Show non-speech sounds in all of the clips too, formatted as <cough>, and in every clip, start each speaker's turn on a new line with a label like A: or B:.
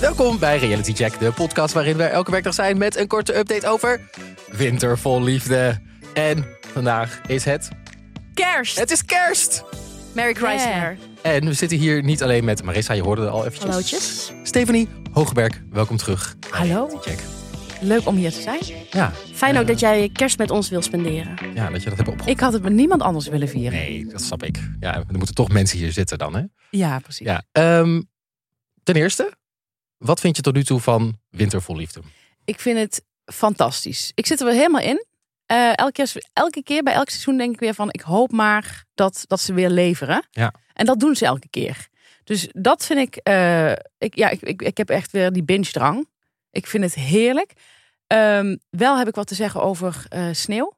A: Welkom bij Reality Check, de podcast waarin we elke werkdag zijn met een korte update over winter vol liefde. En vandaag is het.
B: Kerst!
A: Het is kerst!
B: Merry Chrysler.
A: En we zitten hier niet alleen met Marissa, je hoorde het al eventjes.
B: Hallootjes.
A: Stefanie Hoogberg, welkom terug. bij
B: Hallo.
A: Reality Check.
C: Leuk om hier te zijn.
A: Ja,
B: Fijn ook
A: eh,
B: dat jij kerst met ons wil spenderen.
A: ja, dat je dat hebt opgehoord.
C: Ik had het met niemand anders willen vieren.
A: Nee, dat snap ik. Ja, er moeten toch mensen hier zitten dan, hè?
C: Ja, precies.
A: Ja. ehm, ten eerste, wat vind je tot nu toe van Winter vol Liefde?
C: Ik vind het fantastisch. Ik zit er wel helemaal in. Eh, elke, keer, elke keer bij elk seizoen denk ik weer van... ik hoop maar dat, dat ze weer leveren.
A: Ja.
C: En dat doen ze elke keer. Dus dat vind ik... eh, ik, ja, ik, ik, ik heb echt weer die binge-drang. Ik vind het heerlijk. Ehm, wel heb ik wat te zeggen over eh,
A: <laughs>
C: sneeuw.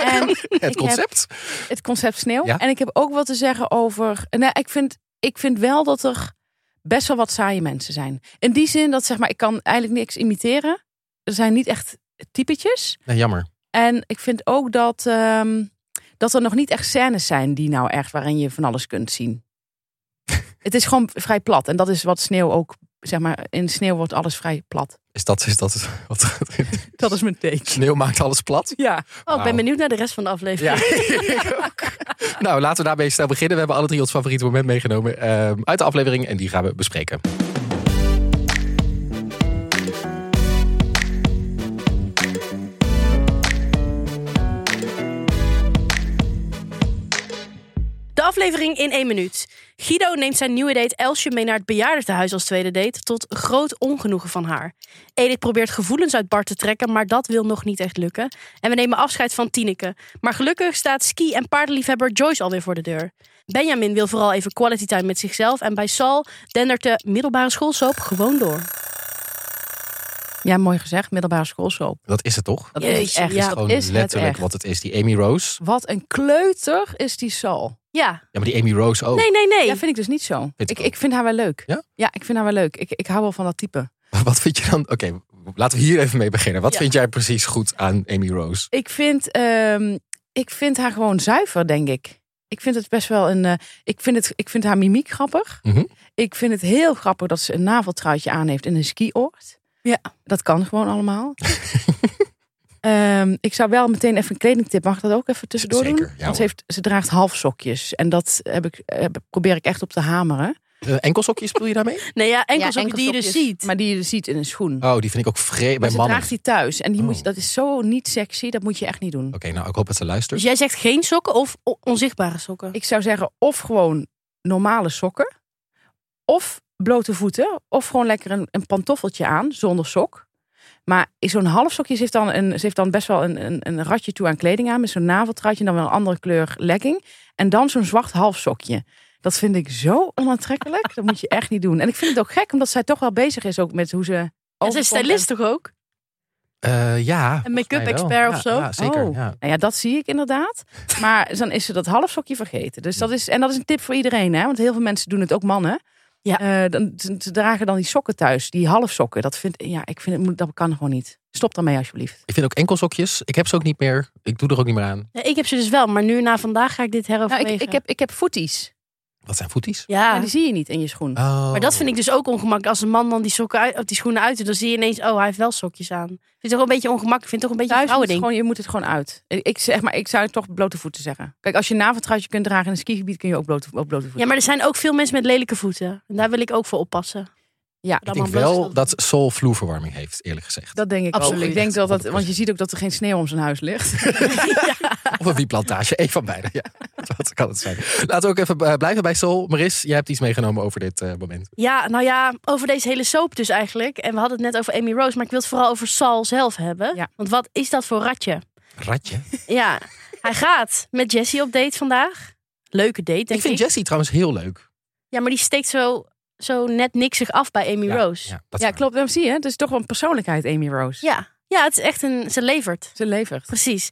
C: en
A: Het
C: heb-
A: concept?
C: het concept sneeuw.
A: Ja.
C: En ik heb ook wat te zeggen over. Nou, ik vind, ik vind wel dat er best wel wat saaie mensen zijn. In die zin dat zeg maar, ik kan eigenlijk niks imiteren. Er zijn niet echt typetjes.
A: Nee, jammer.
C: En ik vind ook dat, ehm, dat er nog niet echt scènes zijn die nou echt waarin je van alles kunt zien.
A: <laughs>
C: het is gewoon vrij plat. En dat is wat sneeuw ook. Zeg maar, in sneeuw wordt alles vrij plat.
A: Is dat, is dat wat, <laughs>
C: Dat is mijn teken.
A: sneeuw Ah. maakt alles plat?
C: Ja.
B: Oh, ik
A: Wauw.
B: ben benieuwd naar de rest van de aflevering.
A: Nou. <laughs> Ja, ik ook. Nou, laten we daarmee snel beginnen. We hebben alle drie ons favoriete moment meegenomen ehm, uit de aflevering en die gaan we bespreken.
B: De aflevering in één minuut. Guido neemt zijn nieuwe date Elsje mee naar het bejaardentehuis als tweede date... tot groot ongenoegen van haar. Edith probeert gevoelens uit Bart te trekken, maar dat wil nog niet echt lukken. En we nemen afscheid van Tineke. Maar gelukkig staat ski- en paardenliefhebber Joyce alweer voor de deur. Benjamin wil vooral even quality time met zichzelf... en bij Sal dendert de middelbare schoolsoap gewoon door.
C: ja, mooi gezegd. Middelbare schoolsoap.
A: Dat is het toch?
C: Dat is
B: Jeetje,
C: het echt.
B: ja.
C: dat
A: Gewoon
C: is het
A: letterlijk
C: echt.
A: wat het is. Die Amy Rose.
C: Wat een kleuter is die Sal.
B: Ja,
A: Ja, maar die Amy Rose ook.
B: nee, nee, nee.
C: Ja, vind ik dus niet zo.
A: Vind ik
C: ik,
A: ook.
C: ik vind haar wel leuk.
A: Ja?
C: ik vind haar wel leuk. Ik, ik hou wel van dat type.
A: <laughs> Wat vind je dan? Oké, laten we hier even mee beginnen. Wat
B: Ja.
A: vind jij precies goed aan Amy Rose?
C: Ik vind, ehm, ik vind haar gewoon zuiver, denk ik. Ik vind het best wel een. eh, ik, vind het, ik vind haar mimiek grappig.
A: Mhm.
C: Ik vind het heel grappig dat ze een naveltruitje aan heeft en een skioord.
B: Ja.
C: Dat kan gewoon allemaal. <laughs> Ehm, ik zou wel meteen even een kledingtip. Mag ik dat ook even tussendoor
A: Zeker,
C: doen?
A: ja
C: Want ze,
A: hoor.
C: heeft, ze draagt halfsokjes. En dat heb ik, eh, probeer ik echt op te hameren.
A: Eh, enkelsokjes bedoel je
B: <laughs>
A: daarmee?
B: Nee, ja, enkel
C: Ja,
B: die je dus
C: enkelsokjes,
B: ziet.
C: Maar die je dus ziet in een schoen.
A: Oh, die vind ik ook vreemd bij
C: Maar ze
A: mannen.
C: draagt die thuis. En die moet je,
A: Oh.
C: dat is zo niet sexy. Dat moet je echt niet doen.
A: Oké, nou, ik hoop dat ze luistert.
B: Dus jij zegt geen sokken of o- onzichtbare sokken?
C: Ik zou zeggen of gewoon normale sokken. Of blote voeten. Of gewoon lekker een, een pantoffeltje aan zonder sok. Maar in zo'n half sokje ze heeft dan, een, ze heeft dan best wel een, een, een ratje toe aan kleding aan. Met zo'n naveltruitje en dan wel een andere kleur legging. En dan zo'n zwart half sokje. Dat vind ik zo onaantrekkelijk. Dat moet je echt niet doen. En ik vind het ook gek, omdat zij toch wel bezig is ook met hoe ze...
B: en zijn
C: overkomt
B: stylist
C: en-
B: toch ook?
A: Eh, ja.
B: Een
A: volgens
B: make-up
A: mij wel.
B: expert of
A: Ja,
B: zo?
A: Ja, zeker.
C: Oh.
A: Ja.
C: Nou ja, dat zie ik inderdaad. Maar dan is ze dat half sokje vergeten. Dus dat is, en dat is een tip voor iedereen, hè? Want heel veel mensen doen het ook mannen.
B: Ja.
C: Eh, dan, ze, ze dragen dan die sokken thuis, die half sokken. Dat vind ja, ik vind het, moet- dat kan gewoon niet. Stop daarmee alsjeblieft.
A: Ik vind ook enkelsokjes. Ik heb ze ook niet meer. Ik doe er ook niet meer aan.
B: Ja, ik heb ze dus wel, maar nu na vandaag ga ik dit
C: Nou,
B: heroverwegen.
C: ik, ik, heb, ik heb voeties.
A: Wat zijn voeties?
B: Ja,
C: En die zie je niet in je schoen.
A: Oh.
B: maar dat vind ik dus ook ongemakkelijk. Als een man dan die, sokken uit, of die schoenen uit doet, dan zie je ineens... Oh, hij heeft wel sokjes aan. Vind het toch een beetje ongemakkelijk. Vind het toch een beetje een
C: Thuis moet het
B: vrouwending.
C: gewoon, je moet het gewoon uit. Ik, ik zeg maar, ik zou het toch blote voeten zeggen. Kijk, als je een naveltruitje kunt dragen in een skigebied, kun je ook blote, ook blote voeten.
B: Ja, maar er zijn ook veel mensen met lelijke voeten. En daar wil ik ook voor oppassen.
C: Ja,
A: Ik
B: Dat
A: denk
B: man blootgesteld
A: wel
B: wordt. <laughs>
A: dat <laughs> Sol vloerverwarming heeft, eerlijk gezegd.
C: dat denk ik
B: Absoluut.
C: ook. Ik denk dat dat,
A: 100%.
C: want je ziet ook dat er geen sneeuw om zijn huis ligt.
A: Of een wieplantage, één van beide. Ja, <laughs> dat kan het zijn. Laten we ook even eh, blijven bij Sol. Maris, jij hebt iets meegenomen over dit eh, moment.
B: Ja, nou ja, over deze hele soap dus eigenlijk. En we hadden het net over Amy Rose, maar ik wil het vooral over Sal zelf hebben.
C: Ja.
B: Want wat is dat voor ratje?
A: Ratje.
B: Ja, hij gaat met Jessie op date vandaag. Leuke date, denk
A: ik
B: ik.
A: vind Jessie trouwens heel leuk.
B: Ja, maar die steekt zo, zo net niksig af bij Amy
A: Ja,
B: Rose. Ja.
A: Ja, dat is
C: Ja,
A: waar.
C: klopt. <laughs> Dan zie je, het is toch wel een persoonlijkheid, Amy Rose.
B: ja. het is echt een... Ze levert.
C: Ze levert.
B: Precies.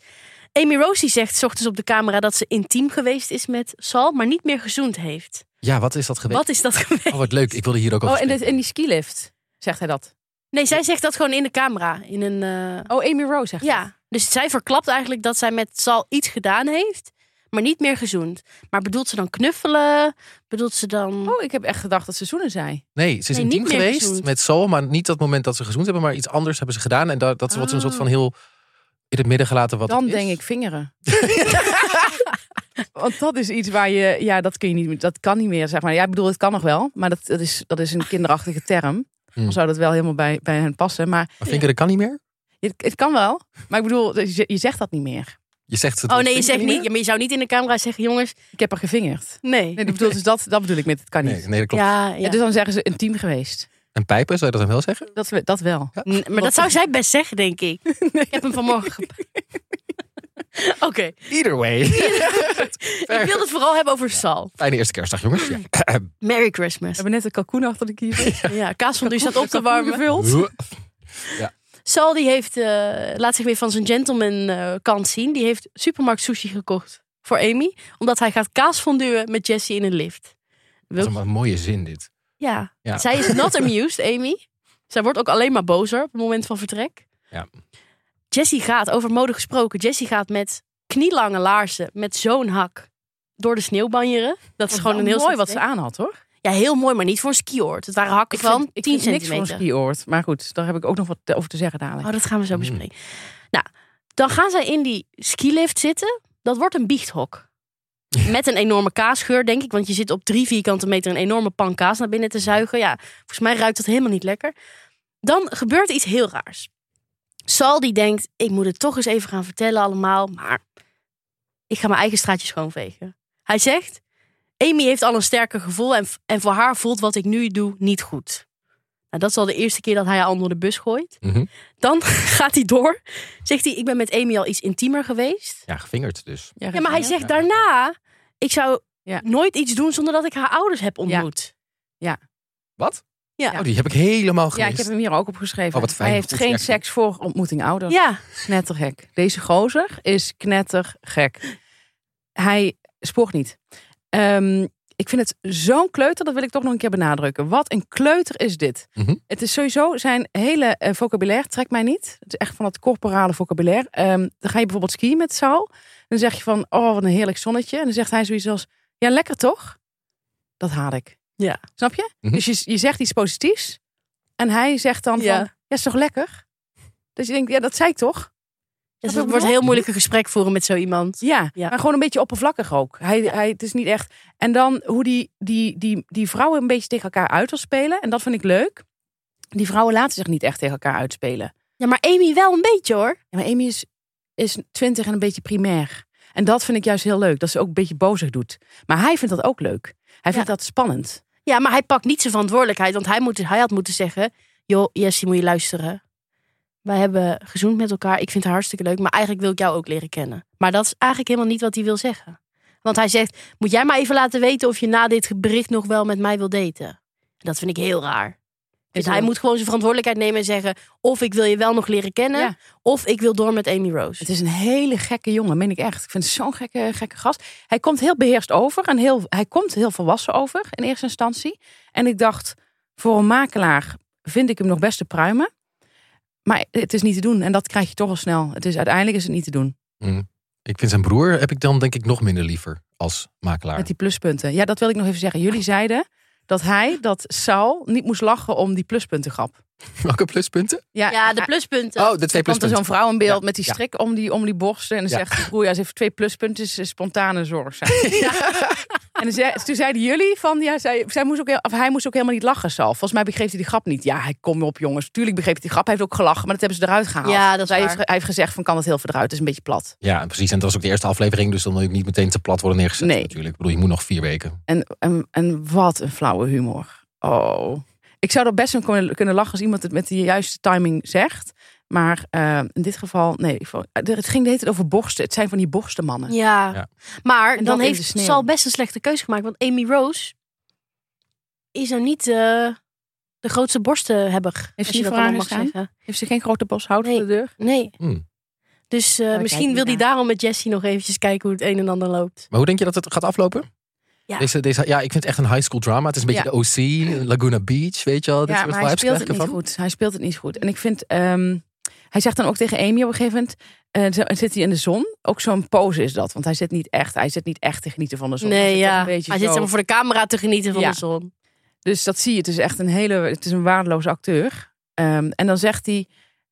B: Amy Rose die zegt 's ochtends op de camera dat ze intiem geweest is met Sal, maar niet meer gezoend heeft.
A: Ja, wat is dat geweest?
B: Wat is dat geweest?
A: Oh, wat leuk. Ik wilde hier ook over
C: Oh, en, dit,
A: spreken.
C: en die skilift, zegt hij dat.
B: Nee, zij zegt dat gewoon in de camera. In een, eh,
C: Oh, Amy Rose zegt dat.
B: ja, dus zij verklapt eigenlijk dat zij met Sal iets gedaan heeft, maar niet meer gezoend. Maar bedoelt ze dan knuffelen? Bedoelt ze dan...
C: Oh, ik heb echt gedacht dat ze zoenen zei.
A: Nee, ze is
B: Nee,
A: intiem
B: niet meer
A: geweest
B: gezoend.
A: met Sol, maar niet dat moment dat ze gezoend hebben, maar iets anders hebben ze gedaan. En dat, dat is wat ze een
B: Ah.
A: soort van heel in het midden gelaten wat
C: Dan
A: het is.
C: denk ik vingeren. <laughs> Want dat is iets waar je, ja, dat kun je niet, dat kan niet meer, zeg maar. Ja, ik bedoel, het kan nog wel, maar dat, dat, is, dat is een kinderachtige term.
A: Hmm.
C: Dan zou dat wel helemaal bij, bij hen passen. Maar
A: Maar vinkeren kan niet meer?
C: het, het kan wel. Maar ik bedoel, dus je, je zegt dat niet meer.
A: Je zegt het.
B: Oh nee, je zegt
A: vinkeren
B: niet. Ja, maar je zou niet in de camera zeggen, jongens,
C: Ik heb er gevingerd.
B: nee.
C: Nee, dat bedoel, dus dat, dat bedoel ik met het kan niet.
A: meer? Nee, nee, dat klopt.
B: Ja, ja.
C: Ja, dus dan zeggen ze intiem geweest.
A: En pijpen, zou je dat dan wel zeggen?
C: Dat, we- dat wel.
B: N- maar dat zou zij best zeggen, denk ik. Ik heb hem vanmorgen gepakt. <laughs> Oké,
A: Either way.
B: ik wil het vooral hebben over Sal.
A: Fijne eerste kerstdag, jongens. Ja.
B: Merry
C: We
B: Christmas.
C: hebben net een kalkoen achter de kiezer.
B: Ja, kaas van staat op te warmen.
A: Oeh.
B: Sal die heeft, eh, laat zich weer van zijn gentleman eh, kant zien. Die heeft supermarkt sushi gekocht voor Amy. Omdat hij gaat kaas fonduwen met Jesse in een lift.
A: Wat een wat een mooie zin dit.
B: Ja.
A: Ja.
B: Zij
A: <laughs>
B: is not amused, Amy. Zij wordt ook alleen maar bozer op het moment van vertrek.
A: Ja.
B: Jessie gaat, over mode gesproken, Jessie gaat met knielange laarzen, met zo'n hak, door de sneeuw banjeren. Dat is gewoon een heel
C: Oh, mooi
B: stuk
C: wat ze
B: trek.
C: aan had, hoor.
B: Ja, heel mooi, maar niet voor een skioord. Het waren hakken van 10
C: vind niks
B: centimeter.
C: van een skioord. Maar goed, daar heb ik ook nog wat te- over te zeggen dadelijk.
B: Oh, dat gaan we zo bespreken. Nou, dan gaan zij in die skilift zitten. Dat wordt een biechthok. Met een enorme kaasgeur, denk ik. Want je zit op drie vierkante meter een enorme pan kaas naar binnen te zuigen. Ja, volgens mij ruikt dat helemaal niet lekker. Dan gebeurt iets heel raars. Sal die denkt, ik moet het toch eens even gaan vertellen allemaal. Maar ik ga mijn eigen straatje schoonvegen. Hij zegt, Amy heeft al een sterker gevoel. En, en voor haar voelt wat ik nu doe niet goed. Nou, dat is al de eerste keer dat hij haar onder de bus gooit.
A: Mhm.
B: Dan <laughs> gaat hij door. Zegt hij, ik ben met Amy al iets intiemer geweest.
A: Ja, gevingerd dus.
B: Ja, maar hij
C: ja.
B: zegt daarna, ik zou
C: Ja.
B: nooit iets doen zonder dat ik haar ouders heb ontmoet.
A: Wat?
B: Ja.
A: Oh, die heb ik helemaal
C: Ja, ik
A: gemist.
C: heb hem hier ook opgeschreven.
A: Oh, wat fijn.
C: Hij heeft
A: Goed,
C: geen
A: ja.
C: seks voor ontmoeting
B: Ja,
C: ouders. Knettergek. Deze gozer is knettergek. Hij spoort niet. Ehm, ik vind het zo'n kleuter, dat wil ik toch nog een keer benadrukken. Wat een kleuter is dit.
A: Mhm.
C: Het is sowieso zijn hele eh, vocabulaire, trekt mij niet. Het is echt van het corporale vocabulaire. Ehm, dan ga je bijvoorbeeld skiën met Saul. Dan zeg je van, oh wat een heerlijk zonnetje. En dan zegt hij zoiets als, ja lekker toch? Dat haat ik.
B: Ja.
C: Snap je?
A: Mhm.
C: Dus je, je zegt iets positiefs. En hij zegt dan
B: Ja.
C: van, ja is toch lekker? Dus je denkt, ja dat zei ik toch?
B: Dus
C: Wat
B: het wordt
C: ik bedoel?
B: een heel moeilijk een gesprek voeren met zo iemand.
C: Ja,
B: Ja.
C: maar gewoon een beetje oppervlakkig ook. Hij, hij, het is niet echt. En dan hoe die, die, die, die vrouwen een beetje tegen elkaar uit wil spelen. En dat vind ik leuk. Die vrouwen laten zich niet echt tegen elkaar uitspelen.
B: Ja, maar Amy wel een beetje hoor.
C: Ja, maar Amy is, is 20 en een beetje primair. En dat vind ik juist heel leuk. Dat ze ook een beetje bozig doet. Maar hij vindt dat ook leuk. Hij vindt dat spannend.
B: Ja, maar hij pakt niet zijn verantwoordelijkheid. Want hij, moet, hij had moeten zeggen, joh, Jessie moet je luisteren. Wij hebben gezoend met elkaar. Ik vind haar hartstikke leuk. Maar eigenlijk wil ik jou ook leren kennen. Maar dat is eigenlijk helemaal niet wat hij wil zeggen. Want hij zegt, moet jij maar even laten weten of je na dit bericht nog wel met mij wil daten. Dat vind ik heel raar. Dus hij moet gewoon zijn verantwoordelijkheid nemen en zeggen... of ik wil je wel nog leren kennen...
C: Ja.
B: of ik wil door met Amy Rose.
C: Het is een hele gekke jongen, meen ik echt. Ik vind het zo'n gekke, gekke gast. Hij komt heel beheerst over en heel, hij komt heel volwassen over in eerste instantie. En ik dacht, voor een makelaar vind ik hem nog best te pruimen. Maar het is niet te doen en dat krijg je toch al snel. Het is, uiteindelijk is het niet te doen
A: Ik vind zijn broer heb ik dan denk ik nog minder liever als makelaar.
C: met die pluspunten. Ja, dat wil ik nog even zeggen. Jullie zeiden dat hij, dat Saul, niet moest lachen om die pluspunten grap.
A: <laughs> Welke pluspunten?
B: ja, de
C: hij-
B: pluspunten.
A: Oh, de twee
C: Komt er zo'n
A: pluspunten.
C: vrouw in beeld
A: Ja,
C: met die
A: ja.
C: strik om, die, om die borsten. En dan
A: Ja.
C: zegt die broer, ja, ze heeft twee pluspunten, ze is spontane zorg.
A: <laughs>
C: Zijn. En dan zei- toen zeiden jullie van, ja, zij, zij moest ook, heel- of hij moest ook helemaal niet lachen, Sal. Volgens mij begreep hij die grap niet. Ja, hij kom op jongens. Tuurlijk begreep hij die grap. Hij heeft ook gelachen, maar dat hebben ze eruit gehaald. Dus
B: Ja, dat is
C: hij,
B: waar.
C: heeft, ge- hij heeft gezegd van, kan het heel veel eruit. Het is een beetje plat.
A: Ja, precies. En dat was ook de eerste aflevering, dus dan wil ik niet meteen te plat worden neergezet.
C: Nee.
A: Natuurlijk. Ik bedoel, je moet nog vier weken.
C: En, en, en wat een flauwe humor. Oh. Ik zou er best aan kunnen, kunnen lachen als iemand het met de juiste timing zegt. Maar eh, in dit geval, nee. ik vond- Het ging de hele tijd over borsten. Het zijn van die borstenmannen.
B: Ja.
A: Ja.
B: Maar
C: En
B: dan
C: dan in
B: heeft
C: de sneeuw.
B: Sal best een slechte keuze gemaakt. Want Amy Rose is nou niet eh, de grootste borstenhebber.
C: Heeft
B: als
C: ze
B: je
C: niet
B: dat allemaal
C: voor
B: mag
C: aangestaan?
B: zeggen.
C: Heeft ze geen grote bos hout
B: Nee.
C: voor de deur?
B: Nee.
A: Hmm.
B: Dus eh,
C: Oh, kijk
B: misschien wil hij
C: hiernaar.
B: daarom met Jessie nog eventjes kijken hoe het een en ander loopt.
A: Maar hoe denk je dat het gaat aflopen?
B: Ja, Ja.
A: Deze, deze, ja, ik vind het echt een high school drama. Het is een beetje de OC, Laguna Beach, weet je wel. Dit
C: ja,
A: soort
C: maar hij
A: vibes
C: speelt
A: krijg
C: het
A: ik
C: niet
A: ervan.
C: goed. Hij speelt het niet goed. En ik vind, ehm, hij zegt dan ook tegen Amy op een gegeven moment, eh, zo- zit hij in de zon? Ook zo'n pose is dat, want hij zit niet echt, hij zit niet echt te genieten van de zon.
B: Nee,
C: zit toch
B: ja.
C: een
B: Hij
C: beetje
B: zit
C: zo.
B: helemaal voor de camera te genieten van
C: Ja.
B: de zon.
C: Dus dat zie je. Het is echt een hele, het is een waardeloze acteur. Ehm, en dan zegt hij,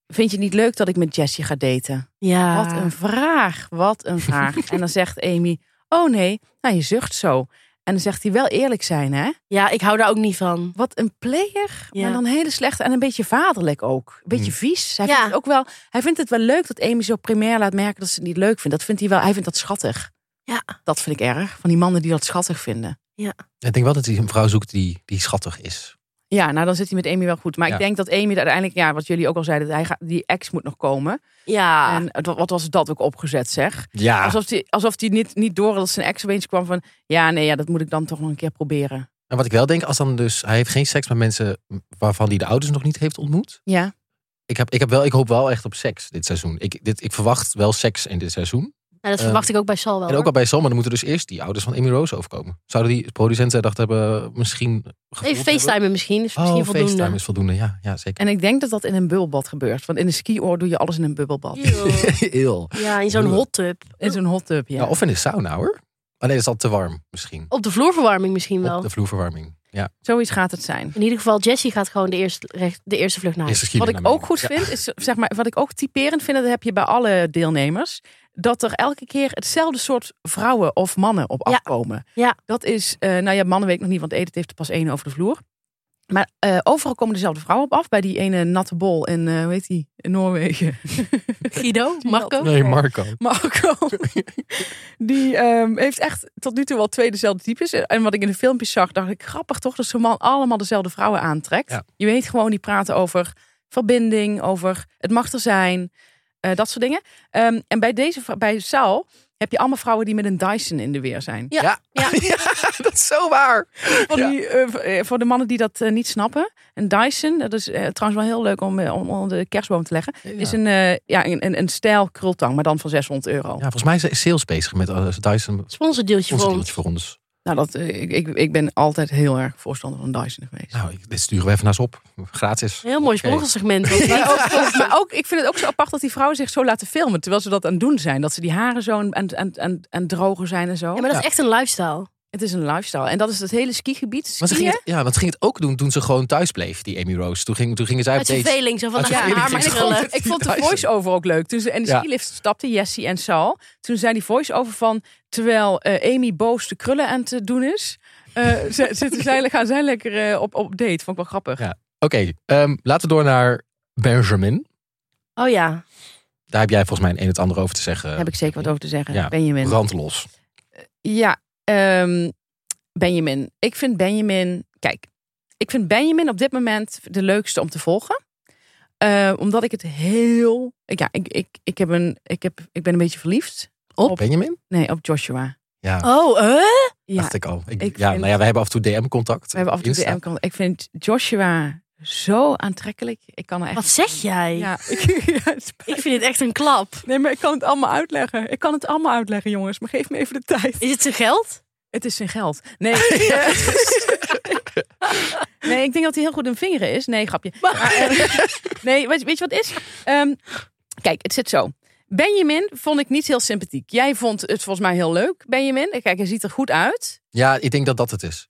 C: vind je het niet leuk dat ik met Jessie ga daten?
B: Ja.
C: Wat een vraag, wat een vraag. <laughs> en dan zegt Amy, oh nee, nou je zucht zo. En dan zegt hij wel eerlijk zijn, hè?
B: ja, ik hou daar ook niet van.
C: Wat een player,
B: Ja.
C: maar dan hele slecht en een beetje vaderlijk ook. Een beetje
A: Hmm.
C: vies. Hij,
B: Ja.
C: vindt het ook wel, hij vindt het wel leuk dat Amy zo primair laat merken dat ze het niet leuk vindt. Dat vindt hij wel, hij vindt dat schattig.
B: Ja.
C: Dat vind ik erg, van die mannen die dat schattig vinden.
A: Ik denk wel dat hij een vrouw zoekt die, die schattig is.
C: Ja, nou dan zit hij met Amy wel goed. Maar
A: Ja.
C: ik denk dat Amy er uiteindelijk, ja, wat jullie ook al zeiden, dat hij gaat, die ex moet nog komen.
B: Ja.
C: En het- wat was dat ook opgezet, zeg?
A: Ja,
C: Alsof hij alsof die niet, niet door had dat zijn ex opeens kwam van, ja, nee, ja, dat moet ik dan toch nog een keer proberen.
A: en wat ik wel denk, als dan dus... Hij heeft geen seks met mensen waarvan hij de ouders nog niet heeft ontmoet.
C: Ja.
A: Ik, heb, ik, heb wel, ik hoop wel echt op seks dit seizoen. Ik, dit, ik verwacht wel seks in dit seizoen.
B: Nou, dat
A: eh,
B: verwacht ik ook bij Sal wel.
A: En ook
B: hoor.
A: al bij Sam, maar dan moeten dus eerst die ouders van Amy Rose overkomen. Zouden die producenten gedacht hebben, misschien... gevoeld
B: Even
A: hebben?
B: facetimen misschien. Is misschien
A: Oh,
B: voldoende.
A: FaceTime is voldoende, ja, ja zeker. <laughs>
C: En ik denk dat dat in een bubbelbad gebeurt. Want in een skioor doe je alles in een bubbelbad.
B: Eeuw.
A: Heel.
B: Ja, in zo'n hot tub.
C: In zo'n hot tub, ja.
A: Ja, of in de sauna hoor. Oh nee, dat is al te warm misschien.
B: Op de vloerverwarming misschien wel.
A: Op de vloerverwarming. Ja,
C: Zoiets gaat het zijn.
B: In ieder geval, Jessie gaat gewoon de eerste, recht- de eerste vlucht naar huis.
A: eerste
C: Wat
A: schielen
C: ik
A: naar
C: ook
A: beneden.
C: goed
A: Ja.
C: vind, is zeg maar, wat ik ook typerend vind, dat heb je bij alle deelnemers. Dat er elke keer hetzelfde soort vrouwen of mannen op
B: Ja.
C: afkomen.
B: Ja.
C: Dat is, eh, nou ja, mannen weet ik nog niet, want Edith heeft er pas één over de vloer. Maar eh, overal komen dezelfde vrouwen op af. Bij die ene natte bol in, eh hoe heet die, in Noorwegen.
B: Guido, Marco.
A: Nee, <laughs> Marco.
C: Marco. Die ehm, heeft echt tot nu toe wel twee dezelfde types. En wat ik in de filmpjes zag, dacht ik grappig toch dat zo'n man allemaal dezelfde vrouwen aantrekt.
A: Ja.
C: Je weet gewoon, die praten over verbinding, over het mag er zijn, eh, dat soort dingen. Ehm, en bij deze, vrou- bij Saul, heb je allemaal vrouwen die met een Dyson in de weer zijn.
B: Ja. Ja.
A: dat is zo waar.
C: Voor,
A: Ja.
C: die, eh, voor- eh, voor de mannen die dat eh, niet snappen. Een Dyson, dat is eh, trouwens wel heel leuk om, eh, om onder de kerstboom te leggen. Is een, eh, ja, een, een, een stijl krultang, maar dan voor 600 euro.
A: Ja, volgens mij is sales bezig met eh, Dyson.
B: Sponsordeeltje
A: Ons
B: voor
A: deeltje
B: ons.
A: voor ons.
C: Nou, dat, eh, ik, ik, ik ben altijd heel erg voorstander van Dyson geweest.
A: Nou, ik- dit sturen we even naar ze op. Gratis.
B: Heel mooi
A: Oké.
B: sponsorsegment.
C: Maar, <laughs> ook, maar ook, ik vind het ook zo apart dat die vrouwen zich zo laten filmen. Terwijl ze dat aan het doen zijn. Dat ze die haren zo aan, aan, aan, aan drogen zijn en zo.
B: Ja, maar dat is echt een lifestyle.
C: Het is een lifestyle. En dat is het hele skigebied.
A: Want ze
C: Skiën.
A: ging het, ja, want ze ging het ook doen toen ze gewoon thuis bleef, die Amy Rose. Toen, ging, toen gingen zij op
B: Uit
A: date.
B: verveling. Zo van,
A: Uit
B: nou,
A: verveling
B: haar
C: Maar
B: maar
A: ging ze
C: ik vond,
A: gewoon-
B: grillen.
C: ik vond de
A: Dyson.
C: voice-over ook leuk. Toen ze in de
A: Ja.
C: skilift stapten, Jessie en Sal. Toen zei die voice-over van... Terwijl eh, Amy boos de krullen aan het doen is... eh, ze- zitten zij, gaan zij lekker eh, op, op date. Vond ik wel grappig.
A: Ja. Oké, ehm, laten we door naar Benjamin.
B: Oh ja,
A: Daar heb jij volgens mij een en het ander over te zeggen.
C: Heb ik zeker wat over te zeggen.
A: Ja,
C: Benjamin.
A: Brandlos.
C: Ja, ehm, Benjamin. Ik vind Benjamin. Kijk, ik vind Benjamin op dit moment de leukste om te volgen. Eh, omdat ik het heel. ik- Ja, ik, ik, ik, heb een, ik, heb, ik ben een beetje verliefd. Op?
A: Benjamin?
C: Nee, op Joshua.
A: Ja,
B: Oh, eh?
C: Ja,
A: dacht ik al. Ik,
C: ik
A: ja,
C: vind-
A: nou ja, we hebben af en toe DM-contact.
C: we hebben af en toe
A: Insta.
C: de M-kant. Ik vind Joshua zo aantrekkelijk. Ik kan er echt.
B: Wat zeg jij?
C: <laughs> Ja, ik, ja, het spijt
B: Ik vind dit echt een klap.
C: me. Nee, maar ik kan het allemaal uitleggen. Ik kan het allemaal uitleggen, jongens. Maar geef me even de tijd.
B: Is het zijn geld?
C: Het is zijn geld. Nee. <laughs> eh, nee, ik denk dat hij heel goed in vingeren is. Nee, grapje. Maar, eh, nee, weet, weet je wat het is? Ehm, kijk, het zit zo. Benjamin vond ik niet heel sympathiek. Jij vond het volgens mij heel leuk, Benjamin. Kijk, hij ziet er goed uit.
A: Ja, ik denk dat dat het is.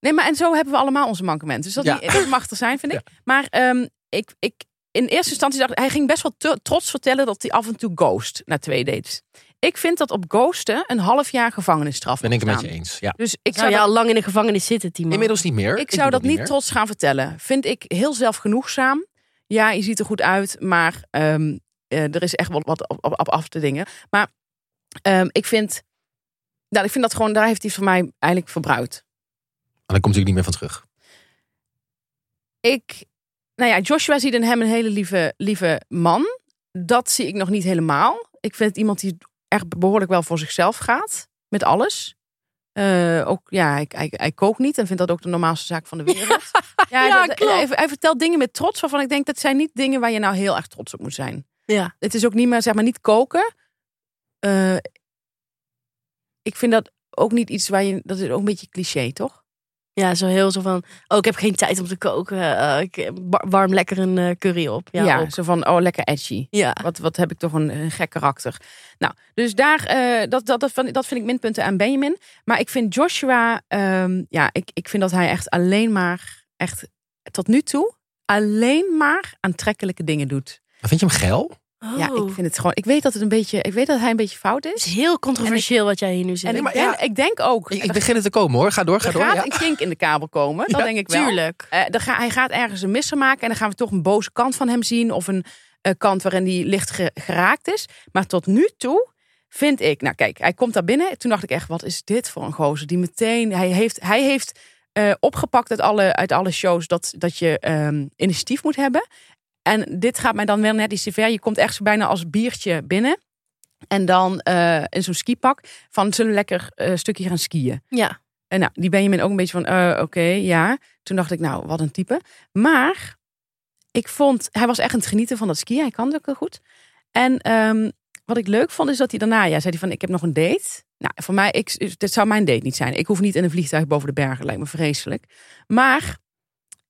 C: Nee, maar en zo hebben we allemaal onze mankementen. Dus dat,
A: Ja.
C: niet- dat mag er zijn, vind ik. Maar ehm, ik, ik, in eerste instantie dacht ik, hij ging best wel te- trots vertellen dat hij af en toe ghost na twee dates. Ik vind dat op ghosten een half jaar gevangenisstraf
A: Ben
C: mag
A: ik het met
C: staan.
A: je eens. Ja.
C: Dus ik zou
B: Zou
C: dat
B: je al lang in de gevangenis zitten, Timo?
A: Inmiddels niet meer.
C: Ik
A: doe
C: zou dat
A: niet
C: niet
A: meer.
C: trots gaan vertellen. Vind ik heel zelfgenoegzaam. Ja, je ziet er goed uit, maar ehm, eh, er is echt wel wat op, op- op af te dingen. Maar ehm, ik vind. Nou, ik vind dat gewoon, daar heeft hij voor mij eigenlijk verbruikt.
A: En dan komt hij ook niet meer van terug.
C: Ik, nou ja, Joshua ziet in hem een hele lieve, lieve man. Dat zie ik nog niet helemaal. Ik vind het iemand die echt behoorlijk wel voor zichzelf gaat. Met alles. Eh, ook, ja, hij, hij, hij kookt niet en vindt dat ook de normaalste zaak van de wereld. Ja,
B: <laughs> Ja,
C: dat-
B: klopt.
C: Hij, hij vertelt dingen met trots waarvan ik denk dat zijn niet dingen waar je nou heel erg trots op moet zijn.
B: Ja.
C: Het is ook niet meer, zeg maar, niet koken. Eh, ik vind dat ook niet iets waar je... Dat is ook een beetje cliché, toch?
B: Ja, zo heel zo van, oh, ik heb geen tijd om te koken. eh, ik wa- warm lekker een eh, curry op. Ja, ook.
C: zo van, oh, lekker edgy.
B: ja.
C: Wat, wat heb ik toch een, een gek karakter. Nou, dus daar, eh, dat, dat, dat, van- dat vind ik minpunten aan Benjamin. Maar ik vind Joshua, ehm, ja, ik, ik vind dat hij echt alleen maar, echt tot nu toe, alleen maar aantrekkelijke dingen doet.
A: Maar Vind je hem geil?
C: Ja,
B: Oh.
C: ik vind het gewoon, ik weet dat het een beetje, ik weet dat hij een beetje fout
B: Het
C: is.
B: is heel controversieel wat jij hier nu zegt.
C: En ik,
A: maar
C: ben,
A: ja.
C: ik denk ook,
A: Ik, ik begin het te komen hoor. Ga door, ga
C: er
A: door.
C: gaat
A: Ja.
C: een kink in de kabel komen. Dat
A: Ja,
C: denk ik wel.
B: Tuurlijk.
C: Eh, dan ga, hij gaat ergens een misser maken en dan gaan we toch een boze kant van hem zien. Of een eh, kant waarin hij licht ge- geraakt is. Maar tot nu toe vind ik, nou kijk, hij komt daar binnen. Toen dacht ik echt, wat is dit voor een gozer? Die meteen, hij heeft, hij heeft eh, opgepakt uit alle, uit alle shows dat, dat je ehm, initiatief moet hebben. En dit gaat mij dan wel net iets te ver. Je komt echt zo bijna als biertje binnen. En dan eh, in zo'n skipak van zullen we lekker eh, een stukje gaan skiën.
B: Ja.
C: En nou, die Benjamin ook een beetje van, eh, oké, ja. Toen dacht ik, nou, wat een type. Maar ik vond, hij was echt aan het genieten van dat skiën. Hij kan het ook heel goed. En ehm, wat ik leuk vond, is dat hij daarna, ja, zei hij van, ik heb nog een date. Nou, voor mij, ik, dit zou mijn date niet zijn. Ik hoef niet in een vliegtuig boven de bergen, lijkt me vreselijk. Maar